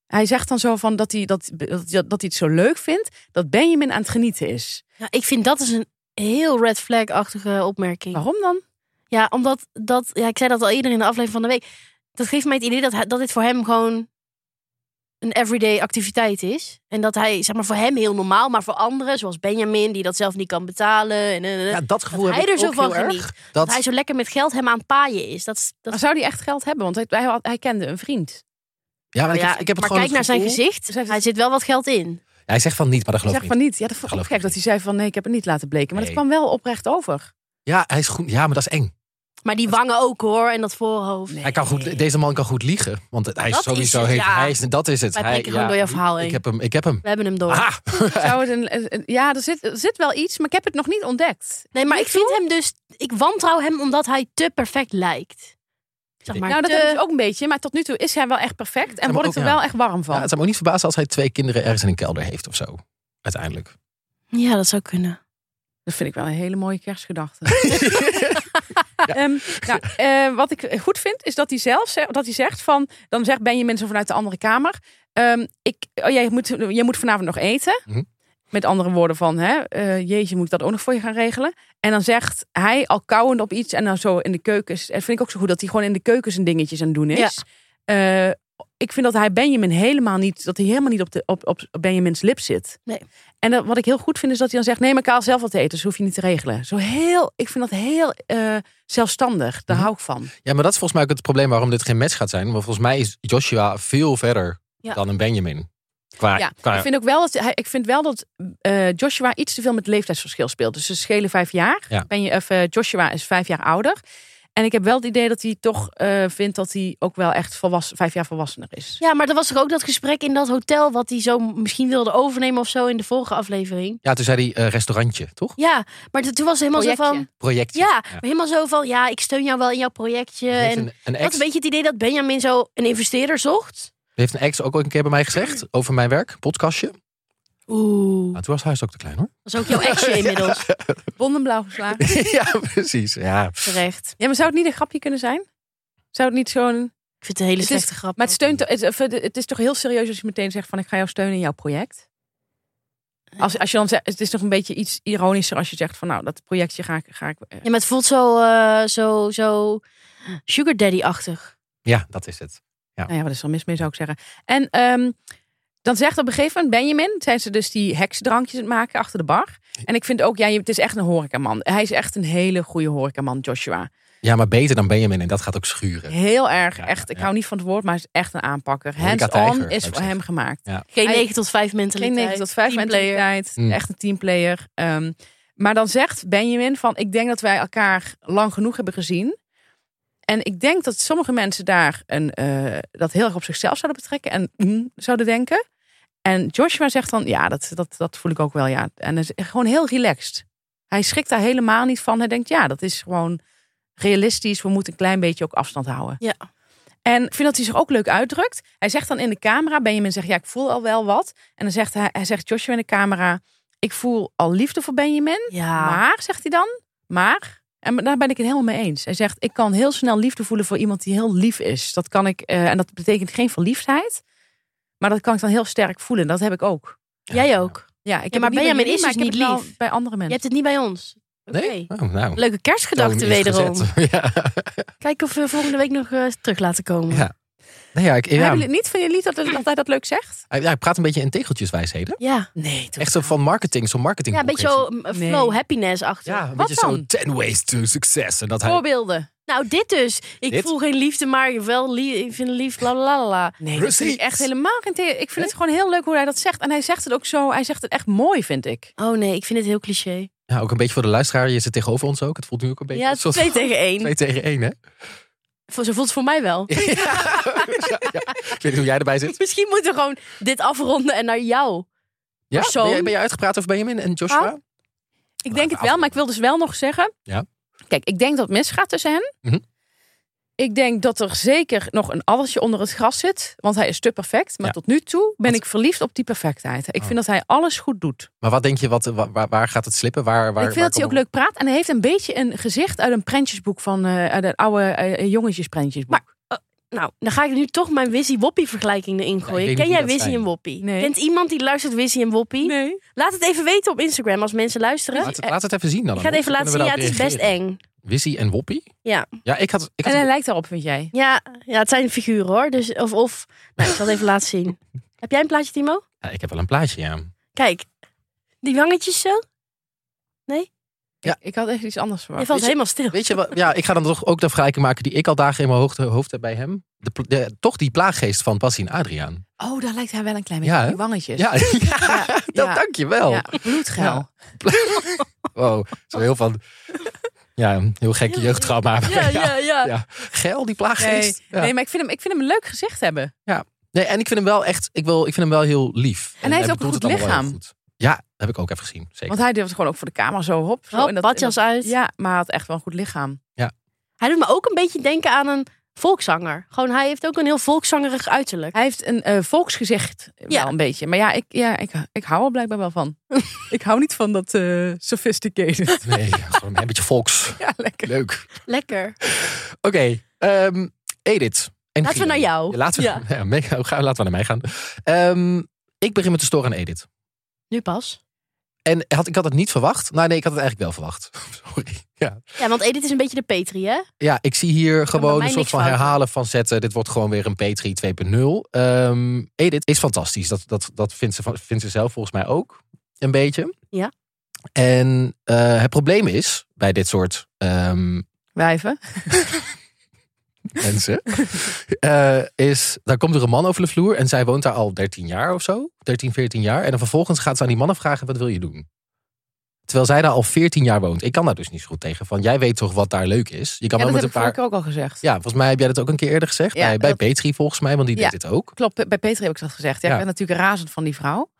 C: hij zegt dan zo van dat hij, dat, dat, dat hij het zo leuk vindt, dat Benjamin aan het genieten is.
B: Ja, ik vind dat is een heel red flag-achtige opmerking.
A: Oh.
C: Waarom dan?
B: Ja, omdat dat, ja, ik zei dat al eerder in de aflevering van de week. Dat geeft mij het idee dat, hij- dat dit voor hem gewoon een everyday activiteit is. En dat hij, zeg maar, voor hem heel normaal, maar voor anderen, zoals Benjamin, die dat zelf niet kan betalen. En, eh,
A: Ja,
B: dat,
A: dat gevoel heb
B: hij
A: ik
B: er zo
A: ook
B: van
A: heel erg.
B: geniet.
A: Dat,
B: hij zo lekker met geld hem aan het paaien is. Dat, is- dat,
C: Maar
B: is-
C: zou hij echt geld hebben? Want hij, hij, had- hij kende een vriend.
A: ja, maar ik,
B: ja,
A: heb- ik heb het
B: maar
A: gewoon
B: kijk naar
A: het
B: zijn
A: gevoel-
B: gezicht.
C: Ze heeft
B: Hij zit wel wat geld in.
A: Ja, hij zegt van niet, maar dat geloof
C: Zeg
A: ik
C: van
A: niet.
C: niet. Ja, dat vond ik
A: Geloof
C: ook
A: ik
C: gek dat hij zei van nee, ik heb het niet laten bleken. Maar dat
A: Nee.
C: kwam wel oprecht over.
A: Ja, hij is goed. Ja, maar dat is eng.
B: Maar die wangen ook hoor, en dat voorhoofd.
A: Hij kan goed, deze man kan goed liegen. Want hij is
B: Dat is
A: sowieso
B: het,
A: heeft,
B: ja.
A: hij is, dat is het.
B: Wij
A: hij,
B: prikken gewoon door je verhaal heen.
A: Ik heb hem, ik heb hem.
B: We hebben hem door.
A: Ah,
C: <laughs> Zou het een, een- een- ja, er zit, er zit wel iets, maar ik heb het nog niet ontdekt.
B: Nee, maar
C: Niet
B: ik vind hem dus. Ik wantrouw hem omdat hij te perfect lijkt. Zeg maar,
C: nou, dat
B: te-
C: heb ik ook een beetje. Maar tot nu toe is hij wel echt perfect. En
A: maar
C: word ik
A: ook,
C: er
A: ja.
C: wel echt warm
A: ja,
C: van.
A: het zou me ook niet verbazen als hij twee kinderen ergens in een kelder heeft of zo. Uiteindelijk.
B: Ja, dat zou kunnen.
C: Dat vind ik wel een hele mooie <laughs> kerstgedachte. Ehm, nou, eh, wat ik goed vind, is dat hij zelf ze- dat hij zegt van... Dan zegt Benjamin zo vanuit de andere kamer... ehm, ik, oh, jij, moet, jij moet vanavond nog eten.
A: Mhm.
C: Met andere woorden van... Hè, eh, jeetje, moet ik dat ook nog voor je gaan regelen? En dan zegt hij al kauwend op iets... En dan zo in de keuken... is- En vind ik ook zo goed dat hij gewoon in de keuken zijn dingetjes aan het doen is. Eh, ik vind dat hij Benjamin helemaal niet... Dat hij helemaal niet op, de, op, op Benjamins lip zit.
B: Nee.
C: En dat, wat ik heel goed vind is dat hij dan zegt... Nee, maar ik haal zelf wat te eten. Dus hoef je niet te regelen. Zo heel... Ik vind dat heel... eh, zelfstandig. Daar
A: Mhm.
C: hou ik van.
A: Ja, maar dat is volgens mij ook het probleem waarom dit geen match gaat zijn. Want volgens mij is Joshua veel verder
B: Ja.
A: dan een Benjamin. Qua,
C: Ja,
A: qua-
C: ik vind ook wel dat, hij- ik vind wel dat eh, Joshua iets te veel met leeftijdsverschil speelt. Dus ze schelen vijf jaar.
A: Ja.
C: Ben je, of, eh, Joshua is vijf jaar ouder. En ik heb wel het idee dat hij toch eh, vindt dat hij ook wel echt volwassen, vijf jaar volwassener is.
B: Ja, maar er was toch ook dat gesprek in dat hotel wat hij zo misschien wilde overnemen of zo in de vorige aflevering.
A: ja, toen zei hij eh, restaurantje, toch?
B: Ja, maar toen was hij helemaal zo van.
C: Projectje.
A: Projectje.
B: Ja, maar helemaal zo van. Ja, ik steun jou wel in jouw projectje.
A: Heeft
B: En
A: een, een
B: dat
A: ex,
B: een beetje het idee dat Benjamin zo een investeerder zocht.
A: heeft een ex ook ooit een keer bij mij gezegd over mijn werk, podcastje.
B: Oeh,
A: Nou, toen was huis ook te klein
B: <laughs>
A: hoor. <laughs>
B: dat is ook jouw exje inmiddels.
C: Bonden blauw geslagen.
A: ja, precies. Ja.
B: Terecht.
C: Ja, maar zou het niet een grapje kunnen zijn? Zou het niet zo'n...
B: Ik vind het een hele
C: Het is-
B: slechte grap.
C: Maar het, steunt, het, of het- het is toch heel serieus als je meteen zegt van ik ga jou steunen in jouw project? Als, als je dan zegt, het is toch een beetje iets ironischer als je zegt van nou, dat projectje ga ik... Ga ik eh,
B: Ja, maar het voelt zo, eh, zo, zo sugar daddy-achtig.
A: ja, dat is het.
C: Nou ja, wat is er mis mee, zou ik zeggen. En ehm, dan zegt op een gegeven moment Benjamin, zijn ze dus die heksdrankjes aan het maken achter de bar. En ik vind ook, ja, je- het is echt een horecaman. Hij is echt een hele goede horecaman, Joshua.
A: Ja, maar beter dan Benjamin en dat gaat ook schuren.
C: Heel erg,
A: Ja,
C: echt, ik
A: ja.
C: hou niet van het woord, maar hij is echt een aanpakker.
A: Horeca
C: Hands-on
A: tijger,
C: is
A: zou ik
C: voor hem
A: zeggen.
C: gemaakt.
B: Geen
C: Hij-
B: 9 tot 5
C: Geen
B: mentaliteit.
C: 9 tot 5
B: Teamplayer.
C: mentaliteit,
A: Mm.
C: echt een teamplayer. Ehm, maar dan zegt Benjamin van, ik denk dat wij elkaar lang genoeg hebben gezien. En ik denk dat sommige mensen daar een, eh, dat heel erg op zichzelf zouden betrekken en mm, zouden denken. En Joshua zegt dan, ja, dat, dat, dat voel ik ook wel, ja. En hij is gewoon heel relaxed. Hij schrikt daar helemaal niet van. Hij denkt, ja, dat is gewoon realistisch. We moeten een klein beetje ook afstand houden.
B: Ja.
C: En ik vind dat hij zich ook leuk uitdrukt. Hij zegt dan in de camera, Benjamin zegt, ja, ik voel al wel wat. En dan zegt hij, hij zegt Joshua in de camera, ik voel al liefde voor Benjamin.
B: Ja.
C: Maar, zegt hij dan, maar En daar ben ik het helemaal mee eens. Hij zegt, ik kan heel snel liefde voelen voor iemand die heel lief is. Dat kan ik, eh, en dat betekent geen verliefdheid. Maar dat kan ik dan heel sterk voelen. Dat heb ik ook.
B: Jij ook.
C: Ja, ik heb
B: maar
C: het niet bij
B: Benjamin
C: jullie,
B: is
C: maar
B: dus
C: ik heb
B: niet
C: het wel
B: lief.
C: bij andere
B: Je
C: mensen.
B: hebt het niet bij ons. Oké.
A: Nee? Oh, nou.
B: Leuke kerstgedachte
A: Toon is
B: wederom.
A: gezet. <laughs> Ja.
B: Kijken of we volgende week nog eh, terug laten komen.
A: Ja. Nee, ja, ik, ja,
C: Hebben jullie het niet van jullie dat, dat hij dat leuk zegt?
A: hij- ja, hij praat een beetje in tegeltjeswijsheden.
B: Ja,
C: Nee, toch.
A: Echt zo van marketing, zo'n marketing.
B: ja een beetje zo eh,
C: Nee.
B: flow, happiness achter.
A: Ja, een
C: Wat
A: beetje zo'n
C: dan?
A: 10 ways to success. En dat hij,
C: Voorbeelden.
B: Nou, dit dus. Ik
A: Dit?
B: voel geen liefde, maar wel lief, ik vind lief, bla bla bla, bla.
C: Nee, dat vind
A: Precies.
C: ik echt helemaal geen tegen. Ik vind het gewoon heel leuk hoe hij dat zegt. En hij zegt het ook zo. Hij zegt het echt mooi, vind ik.
B: Oh nee, ik vind het heel cliché.
A: ja, ook een beetje voor de luisteraar. Je zit tegenover ons ook. Het voelt nu ook een beetje.
B: ja, het
A: als
B: is
A: een soort
B: twee tegen één.
A: twee tegen één, hè?
B: Zo voelt het voor mij wel.
A: ja, ja. Ik weet niet hoe jij erbij zit.
B: <laughs> Misschien moeten we gewoon dit afronden en naar jou.
A: Ja?
B: Persoon.
A: Ben, jij, ben jij uitgepraat over Benjamin en Joshua?
C: Ah. Ik denk het wel, maar ik wil dus wel nog zeggen.
A: Ja.
C: Kijk, ik denk dat het misgaat tussen hen.
A: Mhm.
C: Ik denk dat er zeker nog een addertje onder het gras zit. Want hij is te perfect. Maar
A: Ja.
C: tot nu toe ben
A: Wat-
C: ik verliefd op die perfectheid. Ik
A: Oh.
C: vind dat hij alles goed doet.
A: Maar wat denk je, wat, wa- waar, waar gaat het slippen? Waar, waar,
C: ik vind dat hij ook leuk praat. En hij heeft een beetje een gezicht uit een prentjesboek van eh, uit een oude eh, jongetjesprentjesboek.
B: Maar- Nou, dan ga ik nu toch mijn Wissie-Woppie vergelijking erin gooien.
A: weet
B: Ken
A: niet wie
B: jij
A: dat
B: Wissie
A: zijn.
B: en Woppie?
C: Nee.
B: Kent iemand die luistert Wissie en Woppie?
C: nee.
B: Laat het even weten op Instagram als mensen luisteren. Eh,
A: Laat het, laat het even zien dan.
B: ik ga het even laten zien. Ja, het is best eng.
A: Wissie en Woppie?
B: Ja.
A: Ja, ik had... Ik
C: En
A: had
C: hij lijkt daarop, vind jij?
B: Ja, ja, het zijn figuren hoor. Dus, of, of. Nou, ik zal het even laten
A: <laughs>
B: zien. Heb jij een plaatje, Timo?
A: Ja, ik heb wel een plaatje, ja.
B: Kijk, die wangetjes zo.
A: Ja.
C: Ik, ik had echt iets anders verwacht.
B: Je valt
A: je-
B: helemaal
A: <laughs>
B: stil.
A: Weet je wat? Ja, ik ga dan toch ook de vergelijking maken die ik al dagen in mijn hoofd, hoofd heb bij hem. De, pl- de- toch die plaaggeest van Bassie en Adriaan.
C: Oh, daar lijkt hij wel een klein beetje
A: Ja,
C: op
A: hè?
C: die wangetjes.
A: Ja, <laughs> ja,
C: Ja,
A: dat
C: ja.
A: dank je wel.
C: Ja, bloedgeil.
A: Ja. Wow, zo heel van... Ja, een heel gekke
B: Heel-
A: jeugdtrauma.
B: Ja, ja,
C: Oh,
B: ja.
A: ja. Geil, die
C: Nee,
A: plaaggeest. Ja.
C: nee, maar ik vind, hem, ik vind hem een leuk gezicht hebben.
A: Nee, en ik vind hem wel echt, ik, wil, ik vind hem wel heel lief.
C: En hij heeft ook
A: bedoelt
C: een goed
A: het allemaal wel heel
C: lichaam.
A: goed. Ja, dat heb ik ook even gezien, zeker.
C: Want hij durft gewoon ook voor de camera zo hop. Zo
B: Hop,
C: in dat-
B: badjas
C: in dat-
B: uit.
C: Ja, maar hij had echt wel een goed lichaam.
B: Hij doet me ook een beetje denken aan een volkszanger. Gewoon, hij heeft ook een heel volkszangerig uiterlijk.
C: Hij heeft een eh, volksgezicht
B: Ja.
C: wel een beetje. Maar ja, ik, ja ik, ik hou er blijkbaar wel <laughs> van. ik hou niet van dat eh, sophisticated.
A: <laughs> Nee, ja, gewoon een beetje volks.
C: <laughs> ja, lekker.
A: Leuk.
B: Lekker.
A: Oké, ehm, Edith. En
B: Laten we
A: Guido.
B: naar jou.
A: Ja, laten, we,
B: Ja.
A: ja. mee- ga- laten we naar mij gaan. Ehm, ik begin met de storen aan Edith.
B: Nu pas.
A: En had, ik had het niet verwacht. Nou nee, ik had het eigenlijk wel verwacht. <laughs> Sorry. Ja,
B: Ja, want Edith is een beetje de Petri, hè?
A: ja ik zie hier
B: bij
A: gewoon
B: mij
A: een soort
B: niks
A: van
B: fout.
A: herhalen van zetten. Dit wordt gewoon weer een Petri 2.0. Ehm Edith is fantastisch. Dat, dat, dat vindt, ze, van- vindt ze zelf volgens mij ook. Een beetje.
B: Ja.
A: En eh, het probleem is bij dit soort ehm,
C: Wijven.
A: mensen. eh, is, daar komt er een man over de vloer en zij woont daar al 13 jaar of zo. 13, 14 jaar. En dan vervolgens gaat ze aan die mannen vragen, wat wil je doen? Terwijl zij daar al 14 jaar woont. Ik kan daar dus niet zo goed tegen. Van, jij weet toch wat daar leuk is? Je kan
C: Ja,
A: wel met
C: dat heb
A: een
C: ik
A: paar...
C: vorige keer ook al gezegd.
A: Ja, volgens mij heb jij dat ook een keer eerder gezegd.
C: Ja,
A: bij bij
C: dat-
A: Petri volgens mij, want die
C: Ja.
A: deed dit ook.
C: Klopt, bij Peter heb ik dat gezegd. Ja,
A: Ja.
C: Ik ben natuurlijk razend van die vrouw.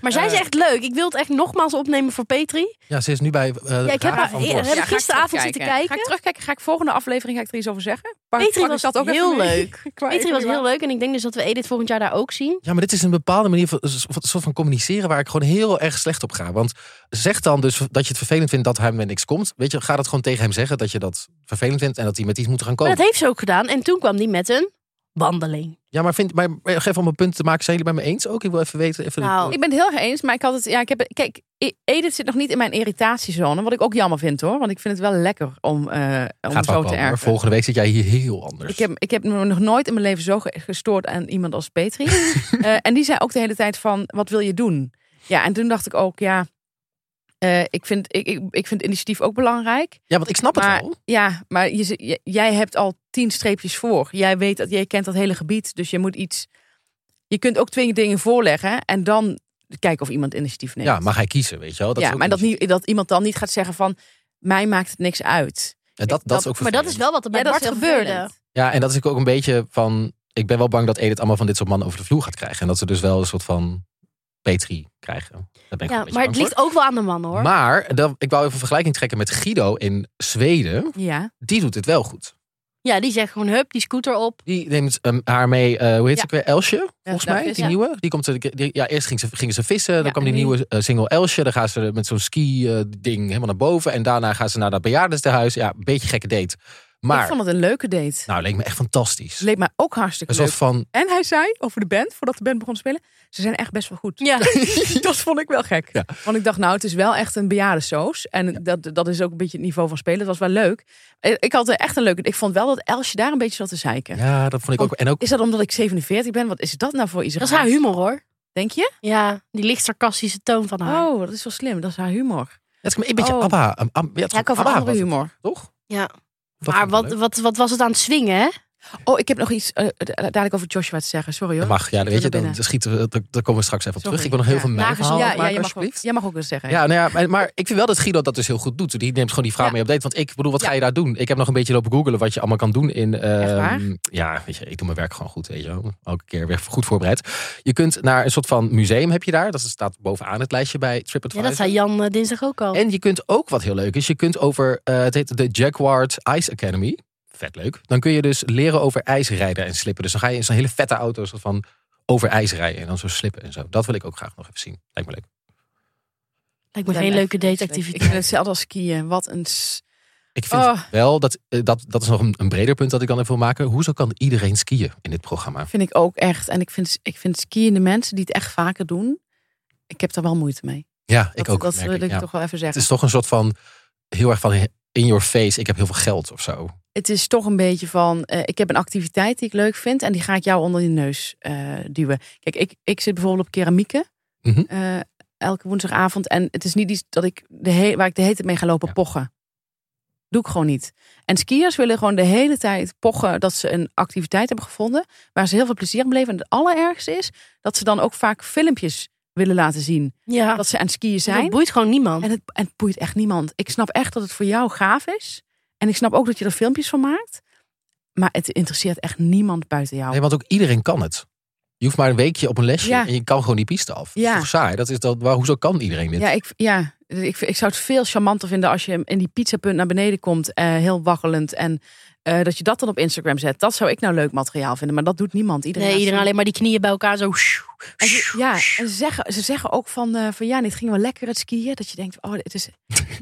B: Maar zij is
A: Eh.
B: echt leuk. Ik wil het echt nogmaals opnemen voor Petri.
A: Ja, ze is nu bij eh
B: ik heb
A: Raad
B: haar
A: van
B: eerder-
A: Borst.
B: heb ik
C: ga
B: gisteravond
C: terugkijken.
B: zitten kijken.
C: Ga ik terugkijken? Ga ik volgende aflevering ga ik er iets over zeggen? Pak-
B: Petri
C: pak
B: was
C: ik dat ook
B: heel
C: even mee?
B: leuk.
C: <laughs> Ik wou
B: Petri
C: even
B: was
C: weer-
B: heel leuk en ik denk dus dat we Edith volgend jaar daar ook zien.
A: Ja, maar dit is een bepaalde manier van, een soort van communiceren waar ik gewoon heel erg slecht op ga. Want zeg dan dus dat je het vervelend vindt dat hij met niks komt. Weet je, ga dat gewoon tegen hem zeggen dat je dat vervelend vindt en dat hij met iets moet gaan
B: Maar
A: komen.
B: dat heeft ze ook gedaan en toen kwam die met een wandeling.
A: Ja, maar, vind, maar maar geef om een punt te maken. Zijn jullie bij me eens ook? Ik wil even weten. Even
B: Nou,
C: Ik ben het heel erg eens, maar ik had het. Ja, ik heb, kijk, E- Edith zit nog niet in mijn irritatiezone. Wat ik ook jammer vind hoor. Want ik vind het wel lekker om, eh om
A: gaat wel
C: zo
A: komen,
C: te
A: hoor.
C: ergeren.
A: Volgende week zit jij hier heel anders.
C: Ik heb, ik heb me nog nooit in mijn leven zo ge- gestoord aan iemand als
A: <laughs>
C: Petri. Eh, en die zei ook de hele tijd van, wat wil je doen? Ja, en toen dacht ik ook, ja, eh, ik, vind, ik, ik, ik vind initiatief ook belangrijk.
A: ja, want ik snap het
C: Maar,
A: wel.
C: ja, maar je, z- j- jij hebt al tien streepjes voor. Jij weet dat, jij kent dat hele gebied, dus je moet iets. Je kunt ook twee dingen voorleggen en dan kijken of iemand initiatief neemt.
A: Ja, mag hij kiezen, weet je wel?
C: ja,
A: is ook
C: maar dat,
A: iets-
C: niet, dat iemand dan niet gaat zeggen van mij maakt het niks uit.
A: Ja, dat, dat, is ook
B: maar dat is
A: vervelend.
B: wel wat er bij
C: ja, dat
B: Bart
C: is heel
B: gebeurde.
C: vervelend.
A: Ja, en dat is ook een beetje van... Ik ben wel bang dat Edith allemaal van dit soort mannen over de vloer gaat krijgen. En dat ze dus wel een soort van Petri krijgen. Daar ben ik wel een
B: Ja,
A: beetje
B: maar
A: bang
B: het
A: voor.
B: ligt ook wel aan de man hoor.
A: Maar dat, ik wou even een vergelijking trekken met Guido in Zweden.
C: Ja,
A: Die doet dit wel goed.
B: Ja, die zegt gewoon hup, die scooter op.
A: Die neemt ehm, haar mee, eh, hoe heet
B: Ja.
A: ze ook weer? Elsje, volgens
C: nou,
A: mij.
C: vis,
A: die
B: ja.
A: nieuwe. Die komt, eh, die- ja, eerst ging ze, gingen ze vissen.
C: Ja,
A: dan kwam die
C: en nu-
A: nieuwe eh, single Elsje. Dan gaan ze met zo'n ski-ding helemaal naar boven. En daarna gaan ze naar dat bejaardentehuis. Ja, een beetje gekke date.
C: Ik
A: Maar,
C: vond het een leuke date.
A: nou, leek me echt fantastisch.
C: Het leek mij ook hartstikke
A: Een
C: leuk.
A: soort van,
C: En hij zei over de band, voordat de band begon te spelen, ze zijn echt best wel
A: <laughs>
C: goed. <laughs>
B: Ja,
C: Dat vond ik wel gek.
A: Ja.
C: Want ik dacht, nou, het is wel echt een bejaardensoos. En dat, dat is ook een beetje het niveau van spelen. Dat was wel leuk. Eh, Ik had eh, echt een leuke... Ik vond wel dat Elsje daar een beetje zat te zeiken.
A: ja, dat vond ik ook. En ook,
C: Is dat omdat ik 47 ben? Wat is dat nou voor
B: <laughs>
C: iets?
B: dat is haar humor hoor.
C: Denk je?
B: Ja, die licht sarcastische toon van haar.
C: Oh, dat is wel slim. Dat is haar humor.
A: het is een beetje
C: Oh.
A: Abba. Een- Ah, een- ja, het is
C: Ja, ik hou van
A: Abba
C: andere
A: was het,
C: humor.
A: toch?
B: Ja.
A: Dat vond
B: maar
A: ik wel
B: wat,
A: leuk.
B: wat, wat was het aan het swingen, hè?
C: Oh, ik heb nog iets eh, da- dadelijk over Joshua te zeggen. Sorry
A: Dat
C: hoor.
A: mag, ja, weet
C: Ik
A: je,
C: wil er
A: dan
C: binnen.
A: schieten we, daar- daar komen we straks even op
C: Sorry.
A: terug. Ik wil nog heel
C: Dus
A: veel
C: Ja,
A: mijn
B: nagezien.
A: verhaal
B: Ja, ja,
A: maken,
C: jij, mag ook,
A: alsjeblieft.
C: jij mag ook eens zeggen.
A: Ja, nou ja, maar- maar ik vind wel dat Guido dat dus heel goed doet. Die neemt gewoon die vraag
C: Ja.
A: mee op date. Want ik bedoel, wat ga
C: Ja.
A: je daar doen? Ik heb nog een beetje lopen googelen wat je allemaal kan doen in... eh,
C: Echt waar?
A: ja, weet je, ik doe mijn werk gewoon goed, weet je wel. Elke keer weer goed voorbereid. Je kunt naar een soort van museum heb je daar. Dat staat bovenaan het lijstje bij
B: Ja,
A: TripAdvisor.
B: dat zei Jan eh, dinsdag ook al.
A: En je kunt ook, wat heel leuk is, je kunt over, eh, het heet de Jaguar Ice Academy. Vet leuk. Dan kun je dus leren over ijs rijden en slippen. Dus dan ga je in zo'n hele vette auto soort van over ijs rijden. En dan zo slippen en zo. Dat wil ik ook graag nog even zien. Lijkt me leuk.
B: Lijkt me
C: Ik ben
B: geen
C: echt-
B: leuke
C: Ik
B: dateactiviteit.
C: vind hetzelfde als skiën. Wat een... s-
A: Ik vind
C: Oh.
A: wel, dat, eh, dat, dat is nog een, een breder punt dat ik dan even wil maken. Hoezo kan iedereen skiën in dit programma?
C: Vind ik ook echt. En ik vind, ik vind skiënde mensen die het echt vaker doen... Ik heb daar wel moeite mee.
A: Ja, ik
C: Dat,
A: ook.
C: Dat
A: merk
C: wil
A: ik,
C: ik
A: ja.
C: toch wel even
A: Het
C: zeggen.
A: is toch een soort van, heel erg van in your face, ik heb heel veel geld of zo.
C: het is toch een beetje van, eh, ik heb een activiteit die ik leuk vind en die ga ik jou onder je neus eh, duwen. Kijk, ik, ik zit bijvoorbeeld op keramieken
A: Mhm.
C: eh, elke woensdagavond en het is niet iets dat ik de he- waar ik de hele tijd mee ga lopen
A: Ja.
C: pochen. Doe ik gewoon niet. En skiers willen gewoon de hele tijd pochen dat ze een activiteit hebben gevonden waar ze heel veel plezier aan beleven. En het allerergste is dat ze dan ook vaak filmpjes willen laten zien
B: Ja,
C: dat ze aan het skiën zijn.
B: dat boeit gewoon niemand.
C: En het, en het boeit echt niemand. Ik snap echt dat het voor jou gaaf is. En ik snap ook dat je er filmpjes van maakt. Maar het interesseert echt niemand buiten jou.
A: Nee, want ook iedereen kan het. Je hoeft maar een weekje op een lesje
C: Ja.
A: en je kan gewoon die piste af. Dat
C: Ja.
A: is toch saai? Dat is dat, waar, hoezo kan iedereen dit?
C: Ja, ik, ja ik, ik zou het veel charmanter vinden als je in die pizzapunt naar beneden komt. eh, heel waggelend. En eh, dat je dat dan op Instagram zet. Dat zou ik nou leuk materiaal vinden. Maar dat doet niemand. Iedereen
B: Nee,
C: laat
B: iedereen
C: zien.
B: alleen maar die knieën bij elkaar zo.
C: En ze, ja, en ze zeggen, ze zeggen ook van, eh, van ja, dit ging wel lekker het skiën. Dat je denkt, oh, het is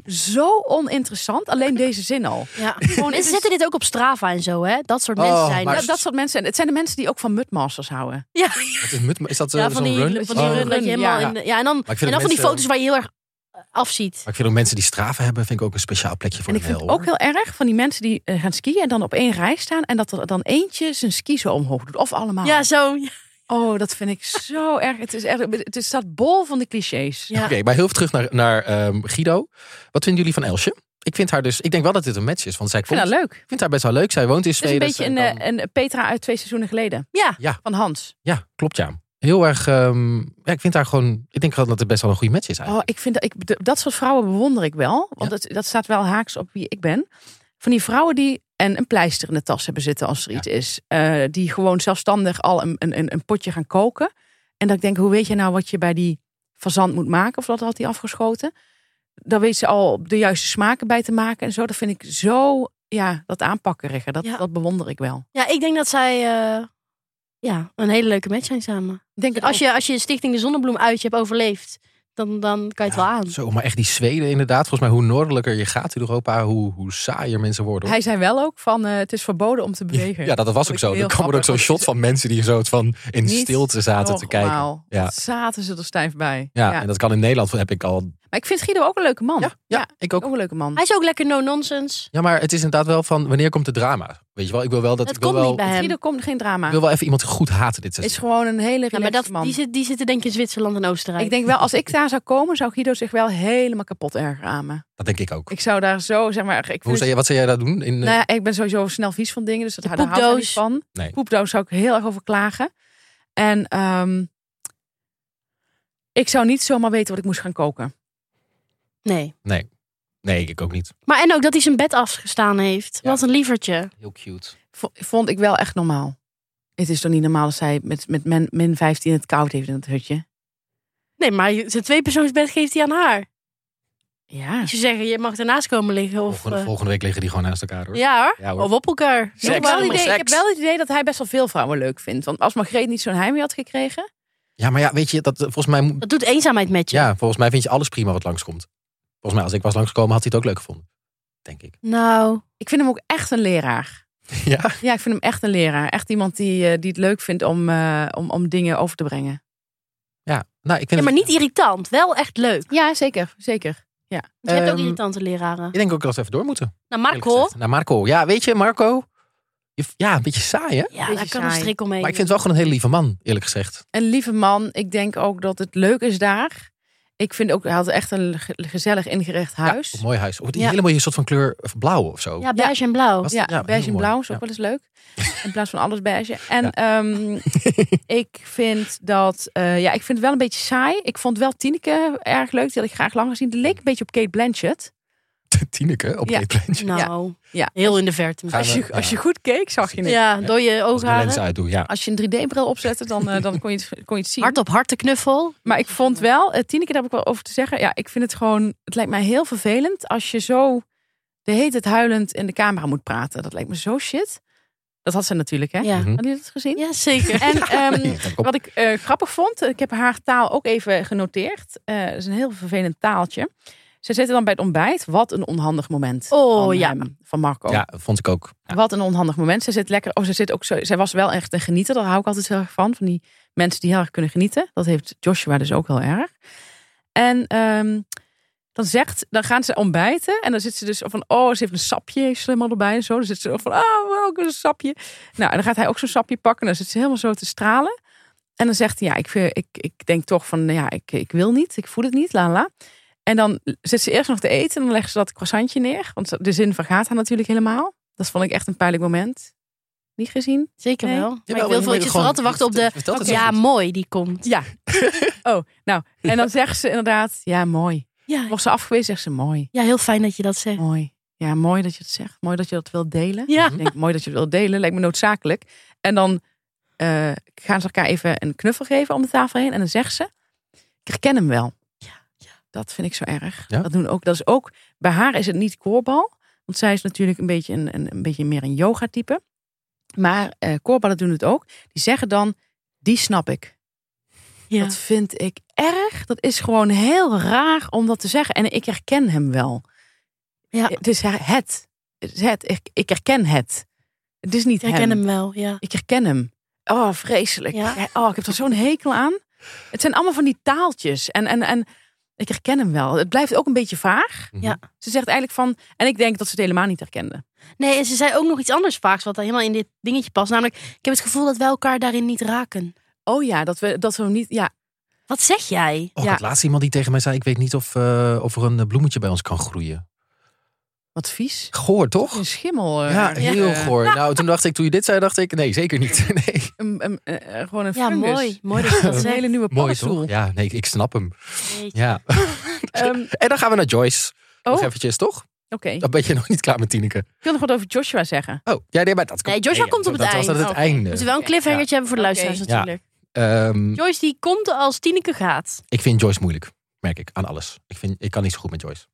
C: zo oninteressant. Alleen deze zin al.
B: Ja.
C: Gewoon,
B: En
C: het
B: ze
C: is-
B: zetten dit ook op Strava en zo, hè? Dat soort
A: Oh,
B: mensen zijn.
A: maar-
B: het.
C: Ja, dat soort mensen. En het zijn de mensen die ook van mudmasters
B: <laughs>
C: houden.
B: Ja,
A: Wat is, mut- is dat eh,
B: ja,
A: zo'n
B: van die,
A: run?
B: van die
A: Oh.
B: run dat je helemaal
C: Ja.
B: in. de- Ja, en dan,
A: Maar ik vind
B: en dan
A: dat
B: van die
A: mensen-
B: foto's waar je heel erg eh, afziet.
A: Maar ik vind ook mensen die straven hebben, vind ik ook een speciaal plekje voor
C: En ik
A: een
C: vind het
A: hel,
C: ook heel erg van die mensen die eh, gaan skiën en dan op één rij staan en dat er dan eentje zijn ski zo omhoog doet. Of
A: Ah.
C: allemaal.
B: Ja, zo.
C: Oh, dat vind ik zo <laughs> erg. Het is echt, het is- staat bol van de clichés.
A: hoor.
B: Ja.
A: <laughs> Oké, maar heel even terug naar, naar ehm, Guido. Wat vinden jullie van Elsje? Ik vind haar dus, ik denk wel dat dit een match is, want zij
C: Ik vind
A: komt,
C: dat leuk.
A: ik vind haar best wel leuk. Zij woont in
C: Het is een
A: Zweden.
C: beetje
A: zij
C: een,
A: kan-
C: eh, een Petra uit twee seizoenen geleden.
B: Ja.
A: Ja.
C: Van Hans.
A: Ja, klopt ja. Heel erg, ehm, ja, ik vind haar gewoon, ik denk gewoon dat het best wel een goede match is
C: Oh,
A: eigenlijk.
C: ik vind dat, ik, d- dat soort vrouwen bewonder ik wel. Want dat, dat staat wel haaks op wie ik ben. Van die vrouwen die en een pleister in de tas hebben zitten als er
A: Ja.
C: iets is. Eh, die gewoon zelfstandig al een, een, een een potje gaan koken. En dat ik denk, hoe weet je nou wat je bij die fazant moet maken? Of dat had hij afgeschoten? Daar weet ze al de juiste smaken bij te maken en zo. Dat vind ik zo, ja, dat aanpakkerige. Dat,
B: Ja.
C: dat bewonder ik wel.
B: ja, ik denk dat zij eh, ja, een hele leuke match zijn samen.
C: Ik Denk het
B: Als
C: ook.
B: je, als je Stichting de Zonnebloem uit je hebt overleefd, dan, dan kan je het wel aan.
A: Zo, maar echt die Zweden inderdaad. Volgens mij hoe noordelijker je gaat in Europa, hoe, hoe saaier mensen worden. hoor. <laughs>
C: Hij zei wel ook van, eh, het is verboden om te bewegen.
A: Ja, dat, dat was
C: Vond
A: ook
C: ik
A: zo.
C: heel
A: Er kwam er ook zo'n
C: grappig, want
A: shot van mensen die een soort van in
C: Niet
A: stilte zaten te kijken. Ja,
C: Normaal. Wat Zaten ze er stijf bij.
A: en dat kan in Nederland, heb ik al.
C: Maar ik vind Guido ook een leuke man.
A: Ja, ja, ik
C: ook
A: ook.
C: een leuke man.
B: Hij is ook lekker no-nonsense.
A: Ja, maar het is inderdaad wel van wanneer komt het drama? Weet je wel, ik wil wel dat
B: Het
A: ik wil
B: komt
A: wel,
B: niet bij hem.
C: Guido komt geen drama.
A: ik wil wel even iemand goed haten dit
C: is
A: seizoen.
C: gewoon een hele
B: Ja, Nou, maar
C: relaxed
B: dat,
C: man.
B: die, zit, die zitten denk ik in Zwitserland en Oostenrijk.
C: Ik denk wel, als ik daar zou komen, zou Guido zich wel helemaal kapot ergeren aan me.
A: Dat denk ik ook.
C: Ik zou daar zo, zeg maar... Ik,
A: Hoe
C: vind-
A: zou jij, wat zou jij daar doen? In, eh,
C: nou ja, ik ben sowieso snel vies van dingen, dus dat
B: De
C: daar houdt hij niet
B: poepdoos.
C: van.
A: Nee.
C: Poepdoos zou ik heel erg over klagen. En ehm, ik zou niet zomaar weten wat ik moest gaan koken.
B: Nee.
A: Nee, ik ook niet.
B: Maar en ook dat hij zijn bed afgestaan heeft.
A: Ja.
B: Wat een lievertje.
A: Heel cute.
C: Vo- Vond ik wel echt normaal. Het is toch niet normaal dat zij met, met men, min 15 het koud heeft in het hutje?
B: Nee, maar je- zijn tweepersoonsbed geeft hij aan haar.
C: Ja.
B: Ze zeggen, je mag ernaast komen liggen. Of,
A: Volgende,
B: eh,
A: volgende week liggen die gewoon naast elkaar hoor.
B: ja hoor.
A: Ja, hoor.
B: of op elkaar.
C: Ik heb,
A: Seks.
C: wel het idee, ik
A: Seks.
C: heb wel het idee dat hij best wel veel vrouwen leuk vindt. Want als Margreet niet zo'n heimwee had gekregen...
A: Ja, maar ja, weet je, dat, eh, volgens, mij,
B: <laughs>
A: moet-
B: Dat doet eenzaamheid met je.
A: ja, volgens mij vind je alles prima wat langskomt. Volgens mij, als ik was langsgekomen, had hij het ook leuk gevonden. Denk ik.
B: Nou,
C: Ik vind hem ook echt een leraar.
A: Ja,
C: Ja, ik vind hem echt een leraar. Echt iemand die, eh, die het leuk vindt om, eh, om, om dingen over te brengen.
A: ja. Nou, ik vind
B: ja, maar
A: het-
B: niet irritant. Wel echt leuk.
C: Ja, zeker. zeker.
B: Want je hebt ook
A: Ehm,
B: irritante leraren.
A: Ik denk ook dat we even door moeten.
B: Nou,
A: eerlijk
B: Marco.
A: gezegd. Naar Marco. Ja, weet je, Marco. Je v- Ja, een beetje saai, hè?
B: Ja,
C: Beetje
B: daar kan
C: saai.
B: een strik omheen.
A: Maar ik vind het wel gewoon een hele lieve man, eerlijk gezegd.
C: Een lieve man. Ik denk ook dat het leuk is daar. Ik vind ook, hij had echt een ge- gezellig ingericht huis.
A: Ja, een mooi huis. Oh, die
C: Ja.
A: hele mooie soort van kleur eh, blauw of zo. <laughs>
B: Ja, beige en blauw.
A: Was-
C: Ja,
A: ja, heel
C: beige en
A: mooi.
C: blauw is
A: Ja.
C: ook wel eens leuk. <laughs> In plaats van alles beige. En
A: <laughs>
C: ehm, ik vind dat... eh, ja, ik vind het wel een beetje saai. Ik vond wel Tineke erg leuk. Die had ik graag lang gezien. Die leek een beetje op Kate Blanchett.
A: Tineke op
C: Ja.
A: ja. Kate
B: Nou,
C: Ja.
B: heel in de verte. misschien.
C: Als je, als je goed keek, zag je het.
B: Ja, door je
A: Als ik mijn lens
B: oogharen.
A: uitdoe,
B: <laughs>
A: ja.
C: Als je een 3D-bril opzette, dan, eh, dan kon, je het, kon je het zien.
B: Hart op hart de knuffel.
C: Maar ik vond wel, eh, Tineke, daar heb ik wel over te zeggen. Ja, ik vind het gewoon, het lijkt mij heel vervelend als je zo de heet het huilend in de camera moet praten. Dat lijkt me zo shit. Dat had ze natuurlijk, hè?
B: Ja.
A: Mhm.
C: Hadden jullie dat gezien?
B: ja, zeker.
C: En
A: <laughs>
C: ehm,
A: Nee, kijk op.
C: wat ik eh, grappig vond, ik heb haar taal ook even genoteerd. Eh, Het is een heel vervelend taaltje. Ze zitten dan bij het ontbijt. Wat een onhandig moment.
B: Oh,
C: van,
B: ja.
C: hem, van Marco.
A: Ja, vond ik ook. Ja.
C: Wat een onhandig moment. Ze zit lekker. Oh, ze zit ook zo. Zij was wel echt een genieter. Daar hou ik altijd heel erg van. Van die mensen die heel erg kunnen genieten. Dat heeft Joshua dus ook heel erg. En ehm, dan zegt, dan gaan ze ontbijten. En dan zit ze dus van, oh, ze heeft een sapje heeft ze helemaal erbij en zo. Dan zit ze ook van, oh, welk een sapje. Nou, en dan gaat hij ook zo'n sapje pakken. En dan zit ze helemaal zo te stralen. En dan zegt hij, ja, ik, vind- ik, ik denk toch van, ja, ik, ik wil niet. Ik voel het niet, la la. En dan zit ze eerst nog te eten. En dan legt ze dat croissantje neer. Want de zin vergaat haar natuurlijk helemaal. Dat vond ik echt een pijnlijk moment. Niet gezien?
B: <laughs> Zeker
C: Nee.
B: wel. Maar
A: Jawel,
B: ik
A: maar
B: wil
A: je
B: vooral
A: moet
B: vooral te
A: gewoon-
B: wachten op
A: je
B: de...
A: vertelt het
B: Ja,
A: zo goed.
B: mooi, die komt.
C: Ja. oh, nou. En dan zegt ze inderdaad, ja, mooi.
B: Ja,
C: Wordt ze afgewezen, zegt ze mooi.
B: ja, heel fijn dat je dat zegt.
C: Mooi. Ja, mooi dat je het zegt. Mooi dat je dat wilt delen.
B: Ja.
A: Mhm.
C: Ik denk, mooi dat je het wilt delen. Lijkt me noodzakelijk. En dan eh, gaan ze elkaar even een knuffel geven om de tafel heen. En dan zegt ze, ik herken hem wel. Dat vind ik zo erg.
A: Ja?
C: Dat, doen ook, dat is ook, bij haar is het niet koorbal. Want zij is natuurlijk een beetje, een, een, een beetje meer een yoga type. Maar eh koorballen doen het ook. Die zeggen dan, die snap ik.
B: Ja.
C: Dat vind ik erg. Dat is gewoon heel raar om dat te zeggen. En ik herken hem wel.
B: Ja.
C: Het is her- het. Het is het. Ik, ik herken het. Het is niet
B: Ik herken
C: hem.
B: hem wel, ja.
C: Ik herken hem. Oh, vreselijk.
B: Ja.
C: Oh, ik heb er zo'n hekel aan. Het zijn allemaal van die taaltjes. En, en, en ik herken hem wel. Het blijft ook een beetje vaag.
A: Mhm.
B: Ja.
C: Ze zegt eigenlijk van... En ik denk dat ze het helemaal niet herkende.
B: Nee, en ze zei ook nog iets anders vaaks wat daar helemaal in dit dingetje past. Namelijk, ik heb het gevoel dat wij elkaar daarin niet raken.
C: Oh ja, dat we, dat we hem niet... Ja,
B: Wat zeg jij?
A: Oh,
C: Ja.
A: dat laatste iemand die tegen mij zei, ik weet niet of, eh, of er een eh, bloemetje bij ons kan groeien.
C: wat vies.
A: Goor, toch?
C: Een schimmel. eh,
A: Ja,
C: ergens,
A: heel
C: eh,
A: goor. Nou, toen dacht ik, toen je dit zei, dacht ik, nee, zeker niet. <laughs> Nee.
C: een- een- eh, gewoon een
B: Ja,
C: fungus.
B: mooi. Mooi dat je dat <laughs>
C: Dat is een
B: zegt.
C: hele nieuwe
A: Mooi
C: paddenstoel.
A: toch? Ja, nee, ik- ik snap hem.
B: Jeetje.
A: <laughs> Ja.
C: Ehm,
A: <laughs> En dan gaan we naar Joyce. Nog
C: oh, oké.
A: eventjes, toch? Dan ben je nog niet klaar met Tineke.
C: Ik wil nog wat over Joshua zeggen.
A: Oh, ja, nee, maar dat
B: Nee, Joshua komt op het
A: dat
B: eind.
A: was aan het
C: Oké.
A: einde.
B: Moeten we wel een cliffhangertje hebben voor de
C: Oké.
B: luisteraars natuurlijk.
A: Ehm,
B: Joyce die komt als Tineke gaat.
A: ik vind Joyce moeilijk, merk ik, aan alles. Ik, vind, ik kan niet zo goed met Joyce.